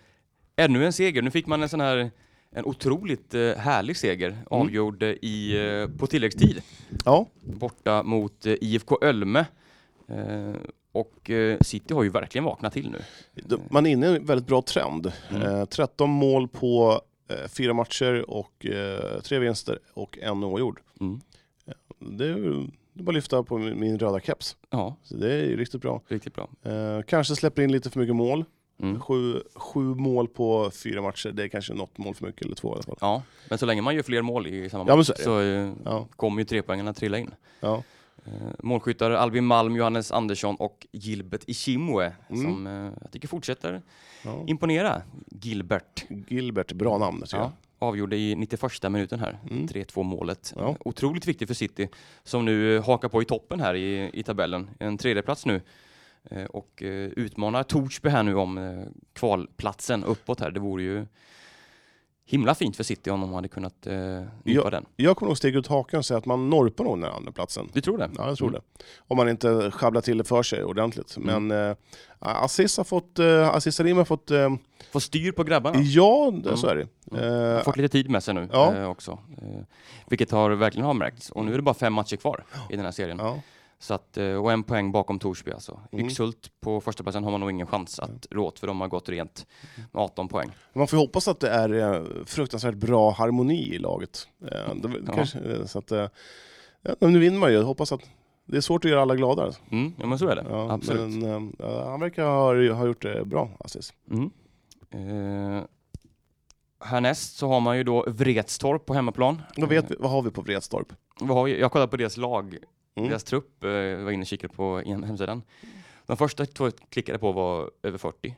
A: ännu en seger. Nu fick man en sån här en otroligt eh, härlig seger
B: Mm.
A: avgjord eh, i, eh, på tilläggstid
B: Ja.
A: borta mot eh, IFK Ölme. Eh, och eh, City har ju verkligen vaknat till nu. Mm.
B: De- Man är inne i en väldigt bra trend. Eh, 13 mål på eh, fyra matcher och eh, tre vinster och en oavgjord.
A: Mm.
B: Det är, ju- det är bara att lyfta på min, min röda keps.
A: Ja,
B: Så det är ju riktigt bra.
A: riktigt bra.
B: Eh, kanske släpper in lite för mycket mål.
A: Mm.
B: Sju, sju mål på fyra matcher, det är kanske något mål för mycket, eller två i alla fall.
A: Ja, men så länge man gör fler mål i samma match
B: Ja, men så är det.
A: så eh,
B: Ja,
A: kommer ju trepoängarna trilla in.
B: ja.
A: Eh, målskyttar Albin Malm, Johannes Andersson och Gilbert Ichimwe
B: Mm.
A: som eh, jag tycker fortsätter
B: ja.
A: imponera. Gilbert.
B: Gilbert, bra namn tycker
A: Ja, avgjorde i 91 minuten här,
B: Mm.
A: 3-2 målet.
B: Ja.
A: Eh, Otroligt viktigt för City som nu eh, hakar på i toppen här i, i tabellen. En tredjeplats nu eh, och eh, utmanar Torsby här nu om eh, kvalplatsen uppåt här. Det vore ju himla fint för City om de hade kunnat eh, nypa
B: Ja.
A: den.
B: jag. Jag kommer nog stiga ut hakan och säga att man norpar nog den här andra platsen.
A: Du tror det?
B: Ja, jag tror
A: Mm.
B: det. Om man inte sjabblar till det för sig ordentligt.
A: Mm.
B: Men eh, Aziz har fått, eh, Aziz Salim har fått, eh,
A: Får styr på grabbarna.
B: ja, det
A: Mm.
B: så är det.
A: Har
B: Eh,
A: fått lite tid med sig nu
B: Ja.
A: eh, också. Eh, vilket har verkligen har märkts. Och nu är det bara fem matcher kvar i den här serien.
B: ja.
A: Så att, eh, och en poäng bakom Torsby alltså.
B: Mm.
A: Yxhult på första platsen har man nog ingen chans att rå åt för de har gått rent
B: Mm.
A: med 18 poäng.
B: Man får ju hoppas att det är eh, fruktansvärt bra harmoni i laget. Eh, det,
A: Ja.
B: kanske, eh, så att, eh, ja, men nu vinner man ju, Jag hoppas att det är svårt att göra alla glada. alltså.
A: Mm, ja men så är det.
B: Ja,
A: Absolut.
B: Men, eh, ja, han verkar ha, ha gjort det bra, Aziz.
A: Mm. Eh, härnäst så har man ju då Vretstorp på hemmaplan. Eh,
B: Vad, vet, vi- vad har vi på Vretstorp?
A: Vad har vi? Jag kollade på deras lag,
B: Mm.
A: deras trupp, eh, jag var inne och kikade på en- hemsidan. De första två jag klickade på var över 40.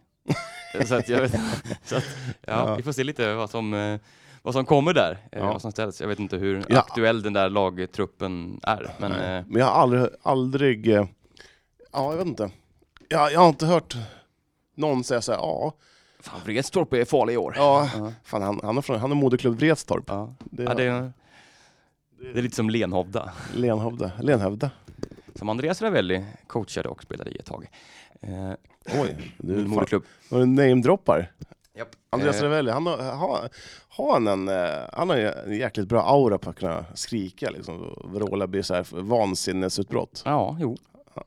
A: så att jag vet, så att, ja,
B: Ja.
A: vi får se lite vad som, eh, vad som kommer där, eh,
B: Ja.
A: vad som ställs. Jag vet inte hur
B: Ja.
A: aktuell den där lagtruppen är. Men,
B: Nej.
A: eh,
B: men jag har aldrig, aldrig eh, ja jag vet inte. Jag, jag har inte hört någon säga så här, ja,
A: Fan, Vretstorp är farlig i år.
B: ja fan, han, han, är från, han är moderklubb Vretstorp.
A: Ja.
B: Det,
A: Ja, det, Det är lite som Lenhovda,
B: Lenhovda. Lenhövda.
A: som Andreas Ravelli coachade och spelade i ett tag. Eh,
B: Oj, du
A: min
B: fan,
A: moderklubb.
B: vad du namedroppar.
A: Japp.
B: Andreas
A: eh,
B: Ravelli, han har, har, har han, en, eh, han har ju en jäkligt bra aura på att kunna skrika liksom, och vråla bli så här vansinnesutbrott.
A: ja, jo.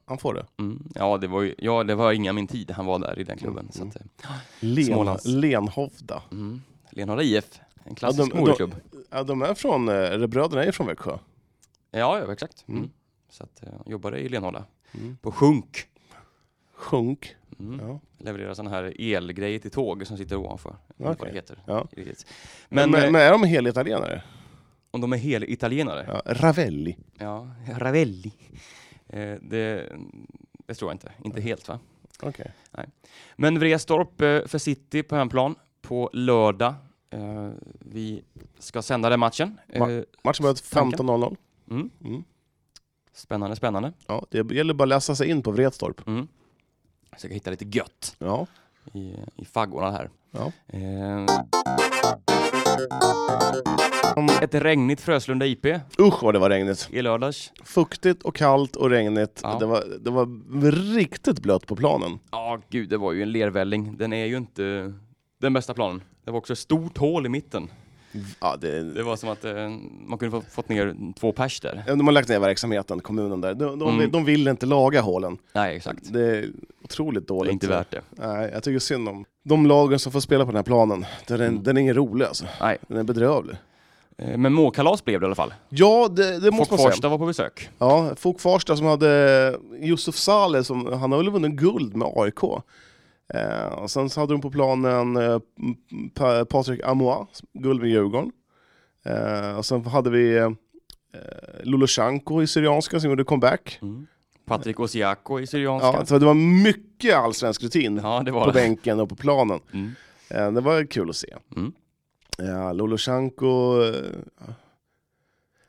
B: Han får det.
A: Mm. Ja, det var ju, ja, det var inga min tid han var där
B: Mm.
A: i den klubben. Så att, eh,
B: Len,
A: Smålands.
B: Lenhovda.
A: mm. Lenhovda IF, en klassisk
B: de- de-
A: moderklubb.
B: Ja, de är från, eh, eller bröderna är från Växjö.
A: Ja, ja, exakt. Mm.
B: Mm.
A: Så att, eh, jobbade i Lenhovda,
B: Mm.
A: på Sjunk.
B: Sjunk.
A: Mm.
B: Ja.
A: levererar sådana här elgrejer till tåg som sitter ovanför. Jag vet inte Vad det heter.
B: Ja.
A: i riket. Men,
B: Men, men,
A: eh,
B: är de helitalienare?
A: om de är helitalienare?
B: Ja. Ravelli.
A: Ja. Ravelli. Eh, det, det tror jag inte. Inte helt va?
B: Okej.
A: Men Vrestorp eh, för City på hemplan på lördag. Eh, vi ska sända den matchen. Eh,
B: Matchen börjar
A: Tanken?
B: 15.00.
A: mm.
B: Mm.
A: Spännande, spännande.
B: Ja, det gäller bara att läsa sig in på Vretstorp.
A: Mm. Försöka hitta lite gött
B: Ja.
A: i, i faggorna här.
B: Ja.
A: Eh, ett regnigt Fröslunda IP
B: Usch vad det var regnigt.
A: i lördags.
B: Fuktigt och kallt och regnigt.
A: Ja.
B: Det, var, det var riktigt blött på planen.
A: Ja, gud, det var ju en lervälling. Den är ju inte den bästa planen. Det var också ett stort hål i mitten.
B: Ja, det,
A: Det var som att eh, man kunde få, fått ner två pers där.
B: de har lagt ner verksamheten, kommunen där. De, de,
A: Mm.
B: de vill inte laga hålen.
A: Nej, exakt.
B: Det är otroligt
A: Det är
B: dåligt.
A: inte värt det.
B: Nej, jag tycker synd om de lagen som får spela på den här planen. Den,
A: Mm.
B: den är ingen rolig alltså.
A: Nej.
B: Den är bedrövlig.
A: Eh, Men måkalas blev det i alla fall.
B: Ja, det, det
A: Folk
B: måste man säga.
A: Farsta var på besök.
B: Ja, Fok Farsta som hade Yusuf Saleh, som, han har väl vunnit guld med AIK. Eh, och sen så hade de på planen eh, pa Patrik Amoa, som- guld med Djurgården. Eh, och sen hade vi eh, Luloshanko i Syrianska som gjorde comeback.
A: Patrik Osiako i
B: Ja,
A: Syrianska.
B: så det var mycket allsvensk rutin
A: Ja, det
B: på
A: var det.
B: bänken och på planen.
A: Mm.
B: Eh, det var kul att se.
A: Mm.
B: Ja, Lolosjenko... eh,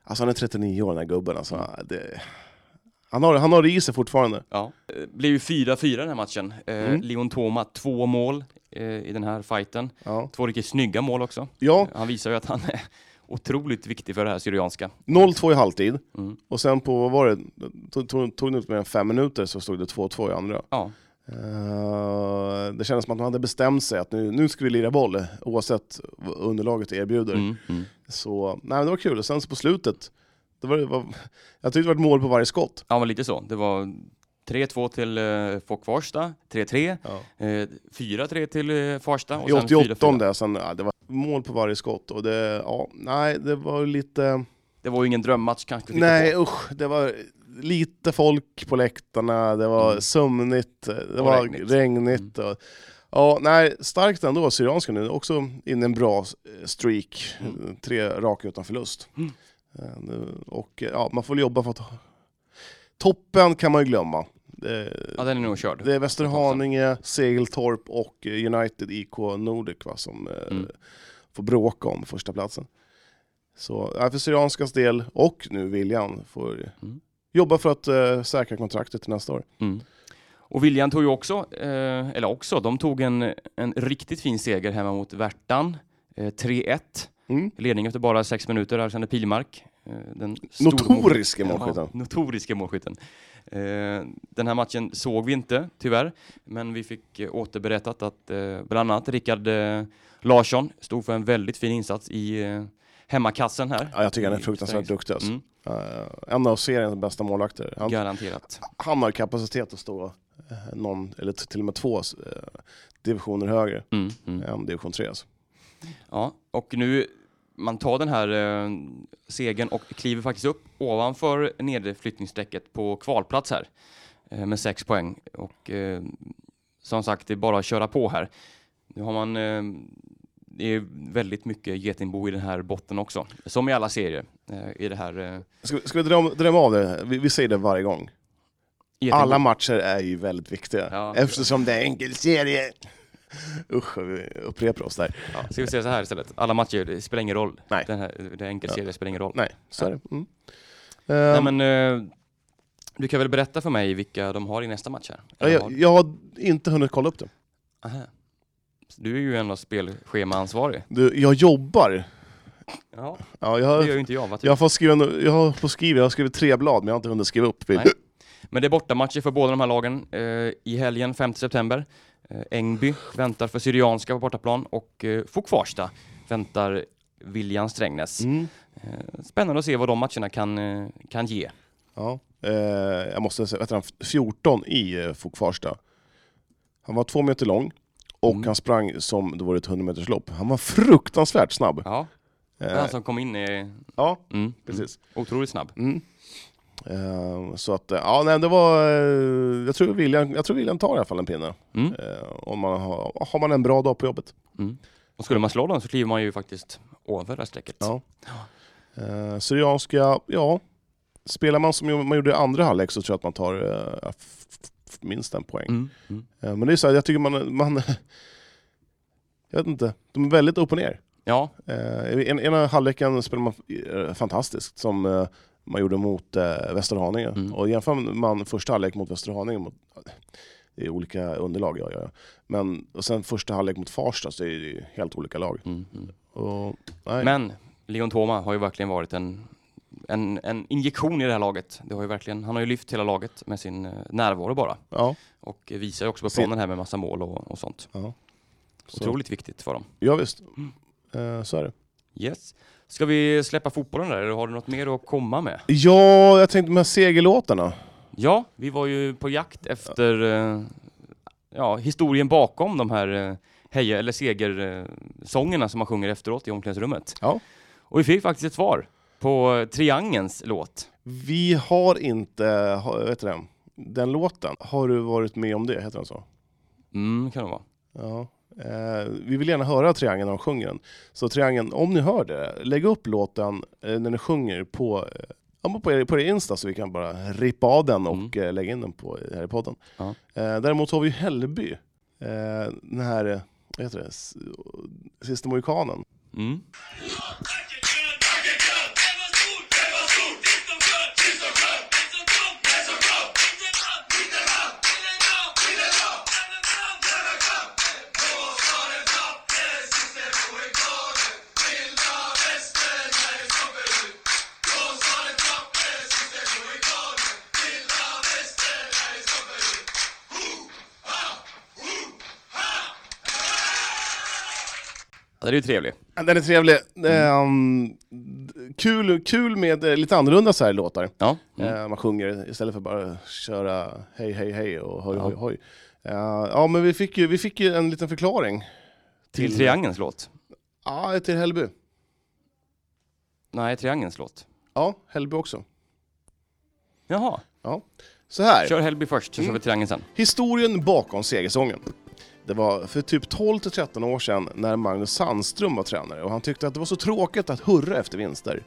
B: Alltså han är 39 år den här gubben. Alltså,
A: Mm.
B: det, han, har, han har det i sig fortfarande.
A: Ja. Eh, Blev ju 4-4 den här matchen. Eh,
B: Mm.
A: Leon Toma, två mål eh, i den här fighten.
B: Ja.
A: Två riktigt snygga mål också.
B: ja,
A: Han visar ju att han är otroligt viktig för det här Syrianska.
B: 0-2 i halvtid.
A: Mm.
B: Och sen på, vad var det, tog, tog, tog det inte mer än fem minuter så stod det 2-2 i andra.
A: Ja.
B: Eh, det kändes som att de hade bestämt sig att nu, nu ska vi lira boll oavsett vad underlaget erbjuder.
A: Mm. Mm.
B: Så nej, men det var kul. Och sen så på slutet, det var, det var, jag tyckte det var ett mål på varje skott.
A: Ja, men lite så. Det var 3-2 till eh, Fock Farsta, 3-3, eh, 4-3 till eh, Farsta och
B: I
A: sen
B: 88
A: 4-4.
B: där, sen, ja, det var mål på varje skott och det, ja, nej, det var lite,
A: Det var ju ingen drömmatch kanske. vi tittar
B: nej
A: på.
B: usch, det var lite folk på läktarna, det var
A: Mm.
B: sömnigt, det
A: Och
B: var
A: regnigt. Mm.
B: regnigt. Och, ja, nej, starkt ändå, Syrianska nu, också in i en bra eh, streak,
A: Mm.
B: tre raka utan förlust.
A: Mm.
B: Eh, nu- Och eh, ja, man får väl jobba för att, toppen kan man ju glömma. Det-
A: Ja, den är nog körd.
B: Det är Västerhaninge, Segeltorp och eh, United IK Nordic va, som eh,
A: Mm.
B: får bråka om första platsen. Så ja, för Syrianskas del, och nu William, får
A: Mm.
B: jobba för att eh, säkra kontraktet till nästa år.
A: Mm. Och Viljan tog ju också, eh, eller också, de tog en, en riktigt fin seger hemma mot Värtan. Eh, 3-1.
B: Mm.
A: Ledning efter bara sex minuter, Alexander Pilmark. Eh, den stormål-
B: Notoriske målskytten.
A: Ja, notoriske målskytten. Eh, den här matchen såg vi inte, tyvärr. Men vi fick eh, återberättat att eh, bland annat Rickard eh, Larsson stod för en väldigt fin insats i eh, hemmakassen här.
B: Ja, jag tycker han är
A: i
B: fruktansvärt
A: Strängnäs.
B: duktig. Alltså.
A: Mm,
B: Eh, en av seriens bästa målvakter. Han,
A: garanterat.
B: han har kapacitet att stå eh, någon, eller t- till och med två eh, divisioner högre
A: Mm, mm.
B: än division 3. Alltså.
A: Ja, och nu man tar den här eh, segern och kliver faktiskt upp ovanför nedflyttningsstrecket på kvalplats här eh, med sex poäng. Och eh, som sagt, det är bara att köra på här. Nu har man eh, det är väldigt mycket getingbo i den här botten också, som i alla serier eh, i det här eh,
B: Ska, vi- ska vi drömma, drömma av det? här? Vi, vi säger det varje gång.
A: getingbo.
B: Alla matcher är ju väldigt viktiga,
A: Ja.
B: eftersom det är enkelserie. Usch, vi upprepar oss där.
A: ja, ska vi säga så här istället? Alla matcher, det spelar ingen roll.
B: Nej.
A: Den här, det är enkel
B: Ja.
A: serie spelar ingen roll.
B: Nej, så är det. Mm.
A: Nej,
B: Ehm,
A: men, eh, du kan väl berätta för mig vilka de har i nästa match här?
B: ja,
A: Eller har
B: jag, jag har inte hunnit kolla upp det.
A: Aha. Så Du är ju ändå spelschemaansvarig.
B: Du, jag jobbar
A: Ja,
B: Ja, jag,
A: det gör
B: har,
A: ju inte jag. Va, typ.
B: jag, får skriva, en- jag har fått skriva, jag har skrivit tre blad men jag har inte hunnit skriva upp.
A: Nej. Men det är bortamatcher för båda de här lagen eh, i helgen 5 september. Eh, Engby väntar för Syrianska på bortaplan och eh, Fokvarsta väntar William Strängnäs.
B: Mm.
A: Eh, spännande att se vad de matcherna kan, eh, kan ge.
B: Ja. Eh, jag måste säga, vet du, han, 14 i eh, Fok Farsta. Han var två meter lång och
A: Mm.
B: han sprang som det vore ett 100 meters lopp. Han var fruktansvärt snabb.
A: Ja, det är
B: Eh,
A: han som kom in i...
B: ja,
A: Mm,
B: precis.
A: mm, otroligt snabb.
B: Mm. Eh, så att, eh, ja nej, det var, eh, jag tror William, jag tror William tar i alla fall en pinne.
A: Mm.
B: Eh, om man har, har man en bra dag på jobbet.
A: Mm. Och skulle man slå dem så kliver man ju faktiskt ovanför det här strecket.
B: Ja. Eh, Syrianska, ja. Spelar man som man gjorde i andra halvlek så tror jag att man tar eh, f- f- minst en poäng.
A: Mm. Mm.
B: Eh, men det är så här, jag tycker man, man... Jag vet inte, de är väldigt upp och ner.
A: Ja,
B: Eh, i en, ena halvleken spelar man eh, fantastiskt som eh, man gjorde mot eh, Västerhaninge.
A: Mm.
B: Och jämför man första halvlek mot Västerhaninge, mot, det är olika underlag jag gör. Men och sen första halvlek mot Farsta så är det ju helt olika lag.
A: mm. Mm.
B: Och, nej.
A: Men Leon Thoma har ju verkligen varit en, en, en injektion i det här laget. Det har ju verkligen, han har ju lyft hela laget med sin eh, närvaro bara.
B: ja,
A: Och eh, visar ju också på
B: Sin-
A: planen här med massa mål och, och sånt.
B: ja. Så-
A: Otroligt Mm. viktigt för dem.
B: Ja visst, Eh, så är det.
A: Yes. Ska vi släppa fotbollen där eller har du något mer att komma med?
B: Ja, jag tänkte de här segerlåtarna.
A: Ja, vi var ju på jakt efter eh, ja, historien bakom de här eh, heja eller segersångerna som man sjunger efteråt i omklädningsrummet.
B: Ja.
A: Och vi fick faktiskt ett svar på eh, Triangens låt.
B: Vi har inte, ha- vet du det, den låten. Har du varit med om det? Heter den så?
A: Mm, kan det vara.
B: Ja. Eh, vi vill gärna höra Triangeln när de sjunger den. Så Triangeln, om ni hör det, lägg upp låten eh, när ni sjunger på, eh, ja, men på, er, på er Insta så vi kan bara rippa av den och eh, lägga in den på, här i podden.
A: Ja.
B: Eh, däremot har vi ju Hällby, eh, den här, eh, vad heter det, S- Sista Mohikanen.
A: Mm. Ja, det är ju trevligt.
B: Ja, Den är trevlig. Ehm, d- kul, kul med eh, lite annorlunda så här låtar.
A: Ja. Mm.
B: Eh, man sjunger istället för bara köra hej hej hej och hoj
A: Ja.
B: hoj hoj. Eh, ja men vi fick, ju, vi fick ju en liten förklaring.
A: Till Triangens låt.
B: Ja, till Hällby.
A: Nej, Triangens låt.
B: Ja, Hällby också.
A: Jaha,
B: Så här.
A: kör Hällby först så kör
B: Mm.
A: vi Triangeln sen.
B: Historien bakom segersången. Det var för typ 12 till 13 år sedan när Magnus Sandström var tränare och han tyckte att det var så tråkigt att hurra efter vinster.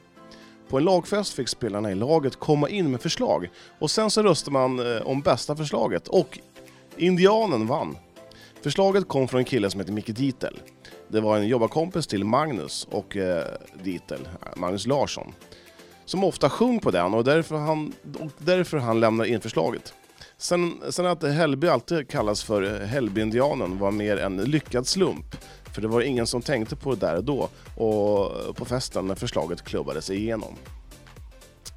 B: På en lagfest fick spelarna i laget komma in med förslag och sen så röstade man eh, om bästa förslaget och Indianen vann. Förslaget kom från en kille som heter Micke Ditel. Det var en jobbarkompis till Magnus och eh, Ditel, eh, Magnus Larsson, som ofta sjöng på den och därför han, och därför han lämnade in förslaget. Sen, sen att Hällby alltid kallas för Hällbyindianen var mer en lyckad slump. För det var ingen som tänkte på det där och då och på festen när förslaget klubbades igenom.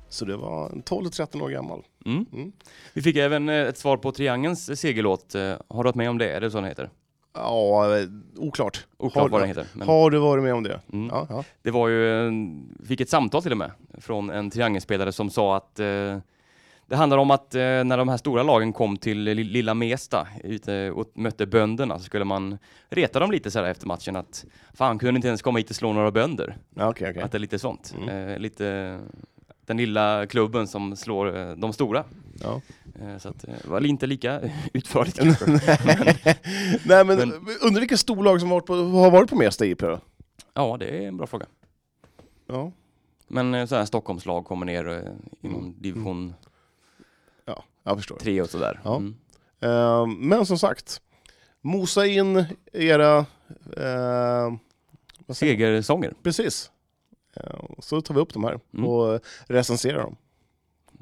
B: Så det var en 12-13 år gammal.
A: Mm.
B: Mm.
A: Vi fick även eh, ett svar på Triangens eh, segerlåt. Eh, Har du varit med om det? Är det så den heter?
B: Ja, eh, oklart.
A: Oklart vad
B: har,
A: den heter. Men...
B: har du varit med om det?
A: Mm.
B: Ja, ja.
A: Det var ju, en- vi fick ett samtal till och med från en triangelspelare som sa att eh, det handlar om att eh, när de här stora lagen kom till li- lilla Mesta ute och mötte bönderna så skulle man reta dem lite så här efter matchen att fan kunde inte ens komma hit och slå några bönder.
B: Ja, okej, okej.
A: Att det är lite sånt.
B: Mm.
A: Eh, lite den lilla klubben som slår eh, de stora.
B: Ja.
A: Eh, så att, eh, det var inte lika utförligt
B: Nej.
A: kanske.
B: Nej men,
A: Men-
B: undrar vilka storlag som har varit på, har varit på Mesta IP då?
A: Ja, det är en bra fråga.
B: Ja.
A: Men eh, så här Stockholmslag kommer ner eh, inom
B: Mm.
A: division
B: ja, jag förstår.
A: 3 och sådär.
B: Ja.
A: Mm.
B: Eh, men som sagt, mosa in era... eh, vad säger-
A: Segersånger.
B: precis. Eh, så tar vi upp de här
A: Mm.
B: och recenserar dem.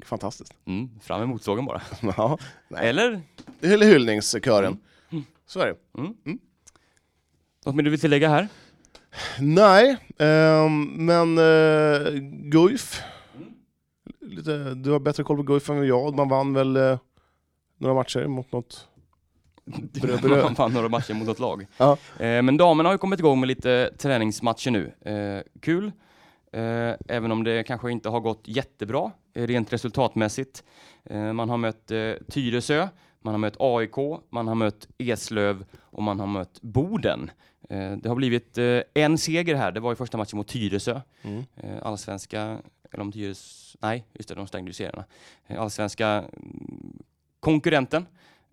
B: Fantastiskt.
A: Mm, fram emot sågen bara.
B: ja. Nej.
A: Eller?
B: Hyll- Hyllningskören.
A: Mm.
B: Så är det.
A: Något mer du vill tillägga här?
B: Nej, ehm, men eh, Guif.
A: Mm.
B: Lite, du har bättre koll på Guif än vad jag. Man vann väl eh, några matcher mot något... Brö, brö.
A: Man vann några matcher mot något lag.
B: Ja.
A: Eh, men damerna har ju kommit igång med lite träningsmatcher nu. Eh, kul. Eh, även om det kanske inte har gått jättebra eh, rent resultatmässigt. Eh, man har mött eh, Tyresö, man har mött AIK, man har mött Eslöv och man har mött Boden. Eh, det har blivit eh, en seger här. Det var i första matchen mot Tyresö.
B: Mm.
A: Eh, allsvenska, eller om Tyres, nej just det, de stängde ju serierna. Eh, allsvenska mm, konkurrenten.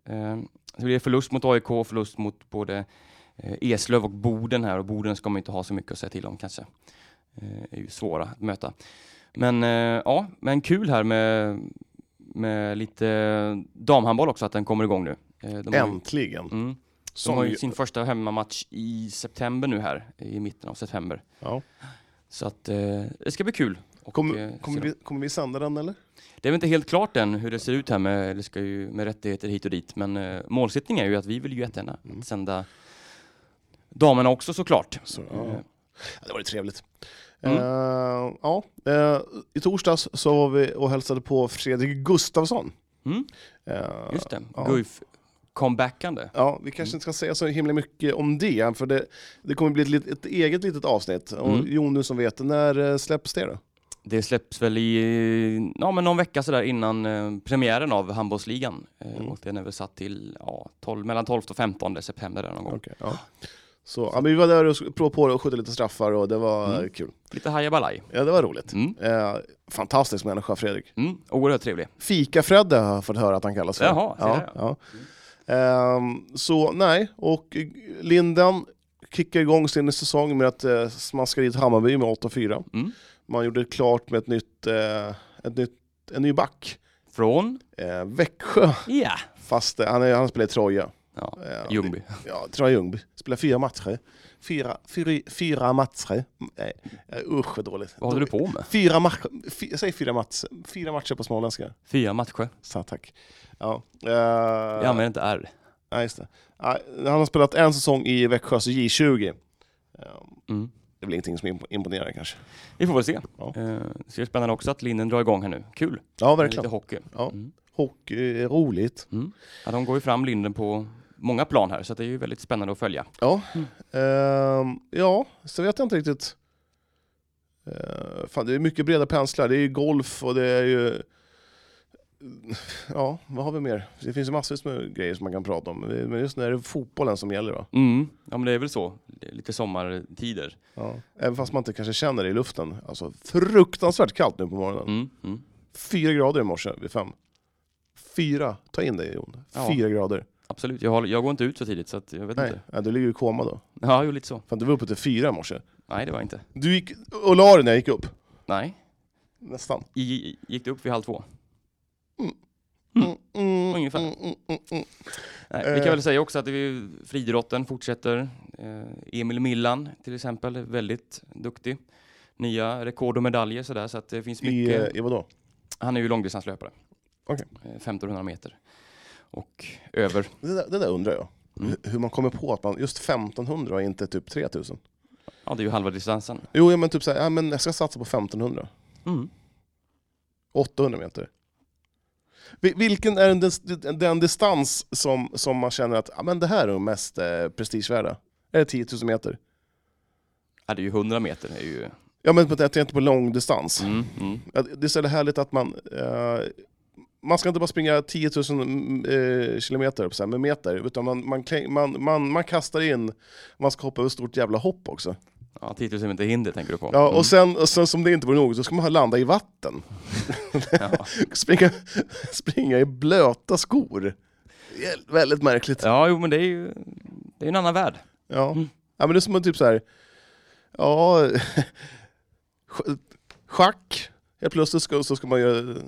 A: Eh, så blir det förlust mot AIK och förlust mot både eh, Eslöv och Boden här och Boden ska man inte ha så mycket att säga till om kanske. Eh, är ju svåra att möta. Men eh, ja, men kul här med, med lite damhandboll också att den kommer igång nu. Eh, de har ju-
B: Äntligen.
A: Mm, de
B: Som
A: har ju
B: ju-
A: sin första hemmamatch i september nu här, i mitten av september.
B: ja.
A: Så att eh, det ska bli kul. Och, eh,
B: kommer, kommer,
A: se
B: vi, kommer vi sända den eller?
A: det är väl inte helt klart än hur det ser ut här med, det ska ju, med rättigheter hit och dit, men eh, målsättningen är ju att vi vill ju jättegärna
B: Mm.
A: sända damerna också såklart.
B: Så,
A: Eh,
B: ja. Ja, det var ju trevligt.
A: Mm.
B: Eh, ja, eh, I torsdags så var vi och hälsade på Fredrik Gustafsson.
A: Mm,
B: Eh,
A: just det, Mm.
B: ja.
A: Guif comebackande.
B: Ja, vi kanske inte ska säga så himla mycket om det, för det, det kommer bli ett, lit- ett eget litet avsnitt. Och
A: Mm.
B: Jon, du som vet, när eh, släpps det då?
A: Det släpps väl i eh, ja, men någon vecka sådär innan eh, premiären av handbollsligan. Eh,
B: Mm.
A: Och den är väl satt till ja, 12, mellan 12 och 15 september där någon gång.
B: Ja. Så, ja, men vi var där och sk- provade på det och skötte lite straffar och det var
A: Mm.
B: eh, kul.
A: Lite hajabalaj.
B: Ja, det var roligt.
A: Mm.
B: Eh, fantastisk människa, Fredrik.
A: Mm. Oerhört trevlig.
B: Fika-Fredde har jag fått höra att han kallas för.
A: Jaha, se
B: ja,
A: där,
B: ja. Ehm, så nej, och Linden kickar igång sin säsong med att eh, smaska dit Hammarby med 8-4.
A: Mm.
B: Man gjorde klart med ett nytt, eh, ett nytt, en ny back.
A: Från?
B: Eh, Växjö,
A: Ja.
B: fast eh, han, är, han spelar i Troja.
A: ja.
B: Eh,
A: Ljungby.
B: Ja, Troja Ljungby. Spelar fyra matcher. Fyra, fyra, fyra matcher. Nej, eh, usch vad dåligt.
A: Vad håller du på med?
B: Fyra matcher, fy, säg fyra matcher, fyra matcher på småländska.
A: Fyra matcher.
B: Så, tack. Ja, eh,
A: Jag använder inte R.
B: nej, just det. Nej, han har spelat en säsong i Växjös J20. Eh,
A: Mm.
B: Det är väl ingenting som imp- imponerar kanske.
A: Vi får väl se.
B: Ja.
A: Eh, så det är spännande också att linden drar igång här nu. Kul.
B: Ja,
A: Med Lite
B: verkligen.
A: hockey.
B: Ja.
A: Mm.
B: Hockey är roligt.
A: Mm. Ja, de går ju fram linden på många plan här så att det är ju väldigt spännande att följa.
B: Ja,
A: Mm.
B: Ehm, ja så vet jag inte riktigt. Eh, fan, det är mycket breda penslar. Det är ju golf och det är ju... Ja, vad har vi mer? Det finns ju massvis med grejer som man kan prata om. Men just nu är det fotbollen som gäller. Va?
A: Mm. Ja men det är väl så. Det är Lite sommartider.
B: Ja. Även fast man inte kanske känner det i luften. Alltså fruktansvärt kallt nu på morgonen.
A: Mm. Mm.
B: Fyra grader i morse vid fem. Fyra, ta in det Jon.
A: Ja.
B: Fyra grader.
A: Absolut. Jag, håller, jag går inte ut så tidigt så att jag vet
B: Nej,
A: inte.
B: ja, du ligger i koma då.
A: Ja, jo lite så.
B: Fan, du var uppe till fyra i morse.
A: Nej det var jag inte.
B: Du gick och la dig när jag gick upp.
A: Nej.
B: Nästan.
A: I, gick det upp vid halv två?
B: Mm, mm,
A: Ungefär.
B: mm, mm, mm, mm.
A: Nej, vi kan
B: Eh.
A: väl säga också att det är friidrotten fortsätter. Eh, Emil Millan till exempel, är väldigt duktig. Nya rekord och medaljer sådär, så att det finns
B: I,
A: mycket.
B: eh, i vadå?
A: Han är ju långdistanslöpare.
B: Okej.
A: Eh, 1500 meter. Och över.
B: Det där, det där undrar jag.
A: Mm.
B: Hur- Hur man kommer på att man just 1500 och inte typ 3000.
A: Ja, det är ju halva distansen.
B: Jo, ja, men typ såhär, ja, men jag ska satsa på 1500.
A: Mm.
B: 800 meter. Vi- Vilken är den, dis- den distans som, som man känner att ja, men det här är den mest eh, prestigevärda? Är det 10 000 meter?
A: Ja, det är ju 100 meter. Det är ju...
B: Ja, men jag tänkte på långdistans.
A: mm, mm.
B: Ja, det det är så jävla härligt att man... Eh, man ska inte bara springa 10 000 mm, eh, kilometer, på så här, med meter, utan man, man, kläng- man, man, man kastar in, man ska hoppa över ett stort jävla hopp också.
A: Ja, 10 000 meter hinder tänker du på.
B: Ja, och sen, och sen som det inte vore nog, så ska man landa i vatten.
A: Mm. Ja.
B: springa, springa i blöta skor. Det är Väldigt märkligt. Ja.
A: ja, jo, men det är ju det är en annan värld.
B: Ja.
A: Mm.
B: men det är som att typ så här, ja, sj- schack, helt plötsligt ska, så ska man göra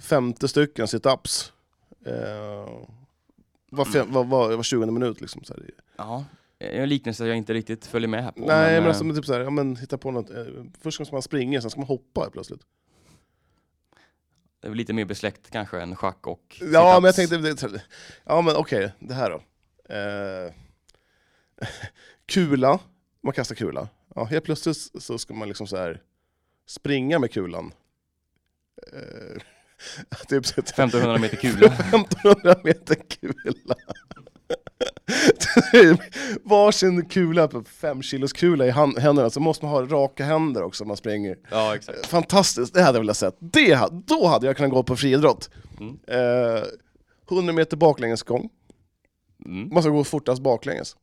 B: 50 stycken situps. Eh, var, fem, var, var, var 20 minut liksom. Så här.
A: Ja. En liknelse jag inte riktigt följer med här på.
B: Nej, men
A: eh,
B: alltså men typ så här, ja, men hitta på något. Eh, Först ska man springa, sen ska man hoppa helt plötsligt.
A: Det är väl lite mer besläkt kanske än schack och
B: Ja, men jag
A: sit-ups.
B: tänkte... det- Ja, men okej, det här då. Eh, kula. Man kastar kula. Ja, helt plötsligt så ska man liksom så här springa med kulan. Eh, typ så att-
A: 1500 meter kula.
B: 1500 meter kula. Typ Varsin kula, på fem kilos kula i hand- händerna, så måste man ha raka händer också när man springer.
A: ja, exakt.
B: Fantastiskt, det hade jag velat sett. Det, ha- då hade jag kunnat gå på friidrott.
A: Mm.
B: Eh, 100 meter baklängesgång,
A: Mm.
B: man ska gå fortast baklänges.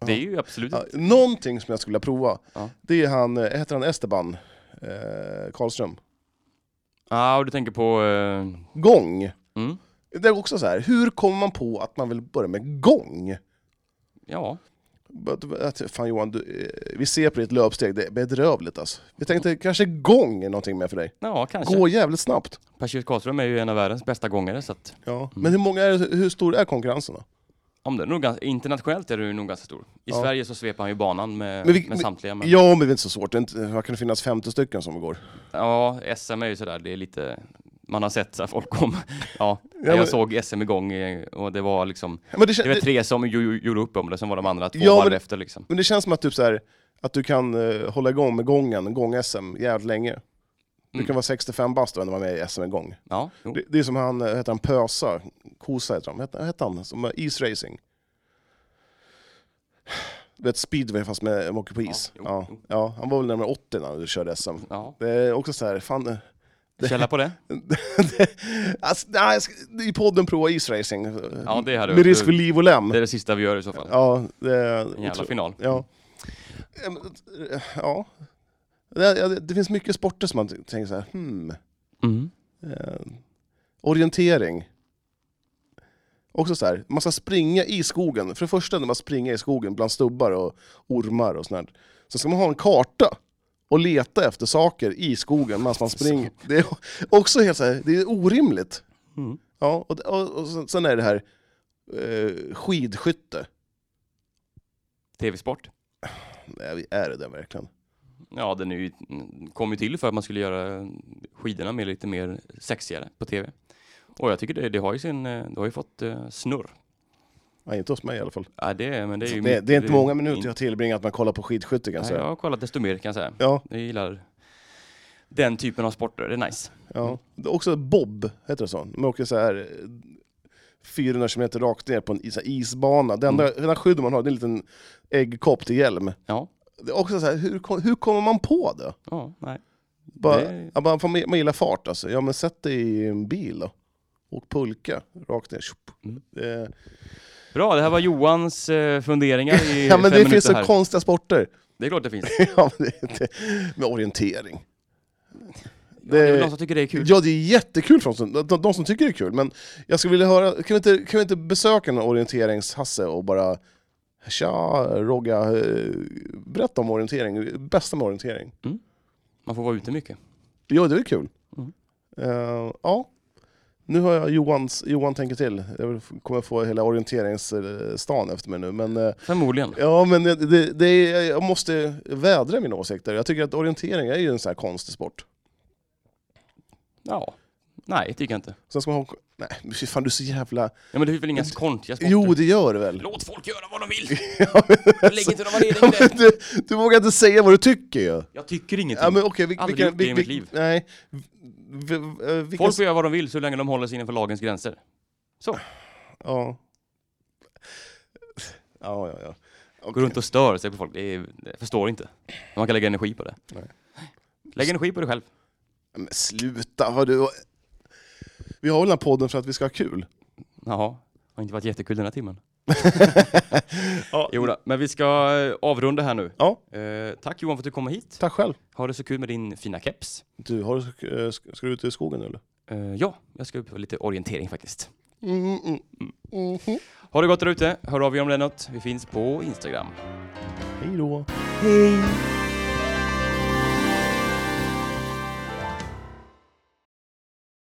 A: Det är ju absolut...
B: Ja, någonting som jag skulle vilja prova,
A: Ja.
B: det är han, eh, heter han Esteban eh, Karlström?
A: Ja, och du tänker på... eh,
B: Gång.
A: mm.
B: Det är också så här, hur kommer man på att man vill börja med gång?
A: Ja.
B: But- att- Fan Johan, du, eh, vi ser på ditt löpsteg, det är bedrövligt alltså. Vi tänkte kanske gång är någonting med för dig.
A: Ja, kanske.
B: Gå jävligt snabbt.
A: Per Karlström är ju en av världens bästa gångare, så att...
B: Ja. Men hur, många är, hur stor är konkurrensen då?
A: Om det är nog ganska, internationellt är det ju nog ganska stor. I
B: Ja.
A: Sverige så svepar han ju banan med,
B: Men vi-
A: med
B: vi-
A: samtliga. Men,
B: Ja, men det är inte så svårt. Det är inte- Vad kan det finnas 50 stycken som går?
A: ja, SM är ju sådär, det är lite... Man har sett så här folk kom. Ja,
B: men-
A: jag såg SM igång eh, och det var liksom...
B: Men det, kän-
A: Det var tre som ju- ju- gjorde upp om det, sen var de andra två
B: Ja, men
A: varv
B: det-
A: efter liksom.
B: men det känns som att, typ så här, att du kan eh, hålla igång med gången, gång-SM, jävligt länge. Du
A: Mm.
B: kan vara 65 bast och ändå vara med i SM en gång.
A: Ja, jo.
B: Det, det är som han, eh, heter han Pösa, Kosa heter han, heter, heter han, som har isracing. Du vet speedway fast med, de åker på is.
A: jo,
B: Ja, ja.
A: jo.
B: han var väl närmare 80 när du körde SM.
A: Ja,
B: Det är också så här, fan... eh,
A: källa på det.
B: Alltså, nej, jag ska, I podden prova isracing.
A: Ja, det hade
B: med risk för
A: det,
B: liv och lem.
A: det är det sista vi gör i så fall.
B: Ja, det är...
A: En jävla
B: otro-
A: final.
B: Ja. Eh, men, eh, ja. Det, ja, det- det finns mycket sporter som man t- tänker så här, hmm.
A: Mm.
B: Eh, orientering. Också så här, man ska springa i skogen. För det första, när man springer i skogen bland stubbar och ormar och sånt där. Sen ska man ha en karta och leta efter saker i skogen medan man springer. Det är också helt så här, det är orimligt.
A: Mm.
B: Ja, och, och, och sen- sen är det här eh, skidskytte.
A: Tv-sport.
B: Nej, är det det verkligen?
A: Ja, den är ju, kom ju till för att man skulle göra skidorna med lite mer sexigare på tv. Och jag tycker det, det har ju sin, eh, det har ju fått eh, snurr.
B: Nej, inte hos mig i alla fall.
A: Ja, det, men det, är ju
B: Alltså, Det,
A: mitt-
B: det är inte många
A: in-
B: minuter jag tillbringat med att kolla på skidskytte kan jag
A: Nej, jag
B: säga.
A: har kollat desto mer kan jag säga.
B: Ja,
A: Jag gillar den typen av sporter, det är nice.
B: ja. Det är också bob, heter det så? De åker så här eh, 400 km rakt ner på en is, isbana. Det
A: Mm.
B: enda, enda skyddet man har det är en liten äggkopp till hjälm.
A: Ja,
B: Det är också så här, hur, kom- hur kommer man på det?
A: ja nej.
B: Bara,
A: Det-
B: ja, bara, fan, man, man gillar fart alltså. Ja men sätt dig i en bil då. Och pulka rakt ner. Tjup.
A: Mm.
B: Eh,
A: Bra, det här var Johans eh, funderingar i
B: ja men
A: fem
B: det finns
A: minuter
B: så
A: här.
B: konstiga sporter.
A: Det är klart det finns.
B: ja, men det, det, med orientering.
A: Det... Ja, det är väl någon som tycker det är kul.
B: Ja, det är jättekul för oss, de, de, de som tycker det är kul, men jag skulle vilja höra, kan vi inte, kan vi inte besöka en orienteringshasse och bara Tja Rogga, eh, berätta om orientering, bästa med orientering.
A: Man får vara ute mycket.
B: Ja, det är kul.
A: Mm.
B: Eh, ja, nu har jag Johans, Johan tänker till. Jag vill- kommer få hela orienteringsstan efter mig nu. Men, eh,
A: Förmodligen.
B: ja, men det, det, det är, jag måste vädra mina åsikter. Jag tycker att orientering är ju en sån här konstig sport.
A: Ja. Nej, tycker jag inte.
B: Sen ska man ha... Nej, fy fan du är så jävla...
A: Ja, men det är väl inga konstiga sporter?
B: Jo, det gör det väl.
A: Låt folk göra vad de vill! Lägg inte någon värdering i det!
B: du, du vågar inte säga vad du tycker ju.
A: Jag tycker ingenting.
B: Ja, men okej, vi,
A: Aldrig
B: vi,
A: gjort det i mitt liv.
B: Nej. Vi, vi, eh, vilka,
A: Folk får göra vad de vill så länge de håller sig innanför lagens gränser. Så,
B: ja. ja, ja, ja.
A: gå runt och stör sig på folk. Det är, jag förstår inte. Man kan lägga energi på det.
B: Nej.
A: Lägg energi på dig själv.
B: Men sluta, vad du... Vi har väl den här podden för att vi ska ha kul?
A: Jaha, har inte varit jättekul den här timmen.
B: Ja.
A: Jo, då, men vi ska eh, avrunda här nu.
B: Ja,
A: Eh, tack Johan för att du kom hit.
B: tack själv.
A: Ha det så kul med din fina keps.
B: Du, har du, eh, ska ska du ut i skogen nu eller?
A: Eh, ja, jag ska upp på lite orientering faktiskt.
B: Mm, mm, mhm.
A: Ha det gott där ute. Hör av er om det är något. Vi finns på Instagram.
B: Hej då.
A: Hej!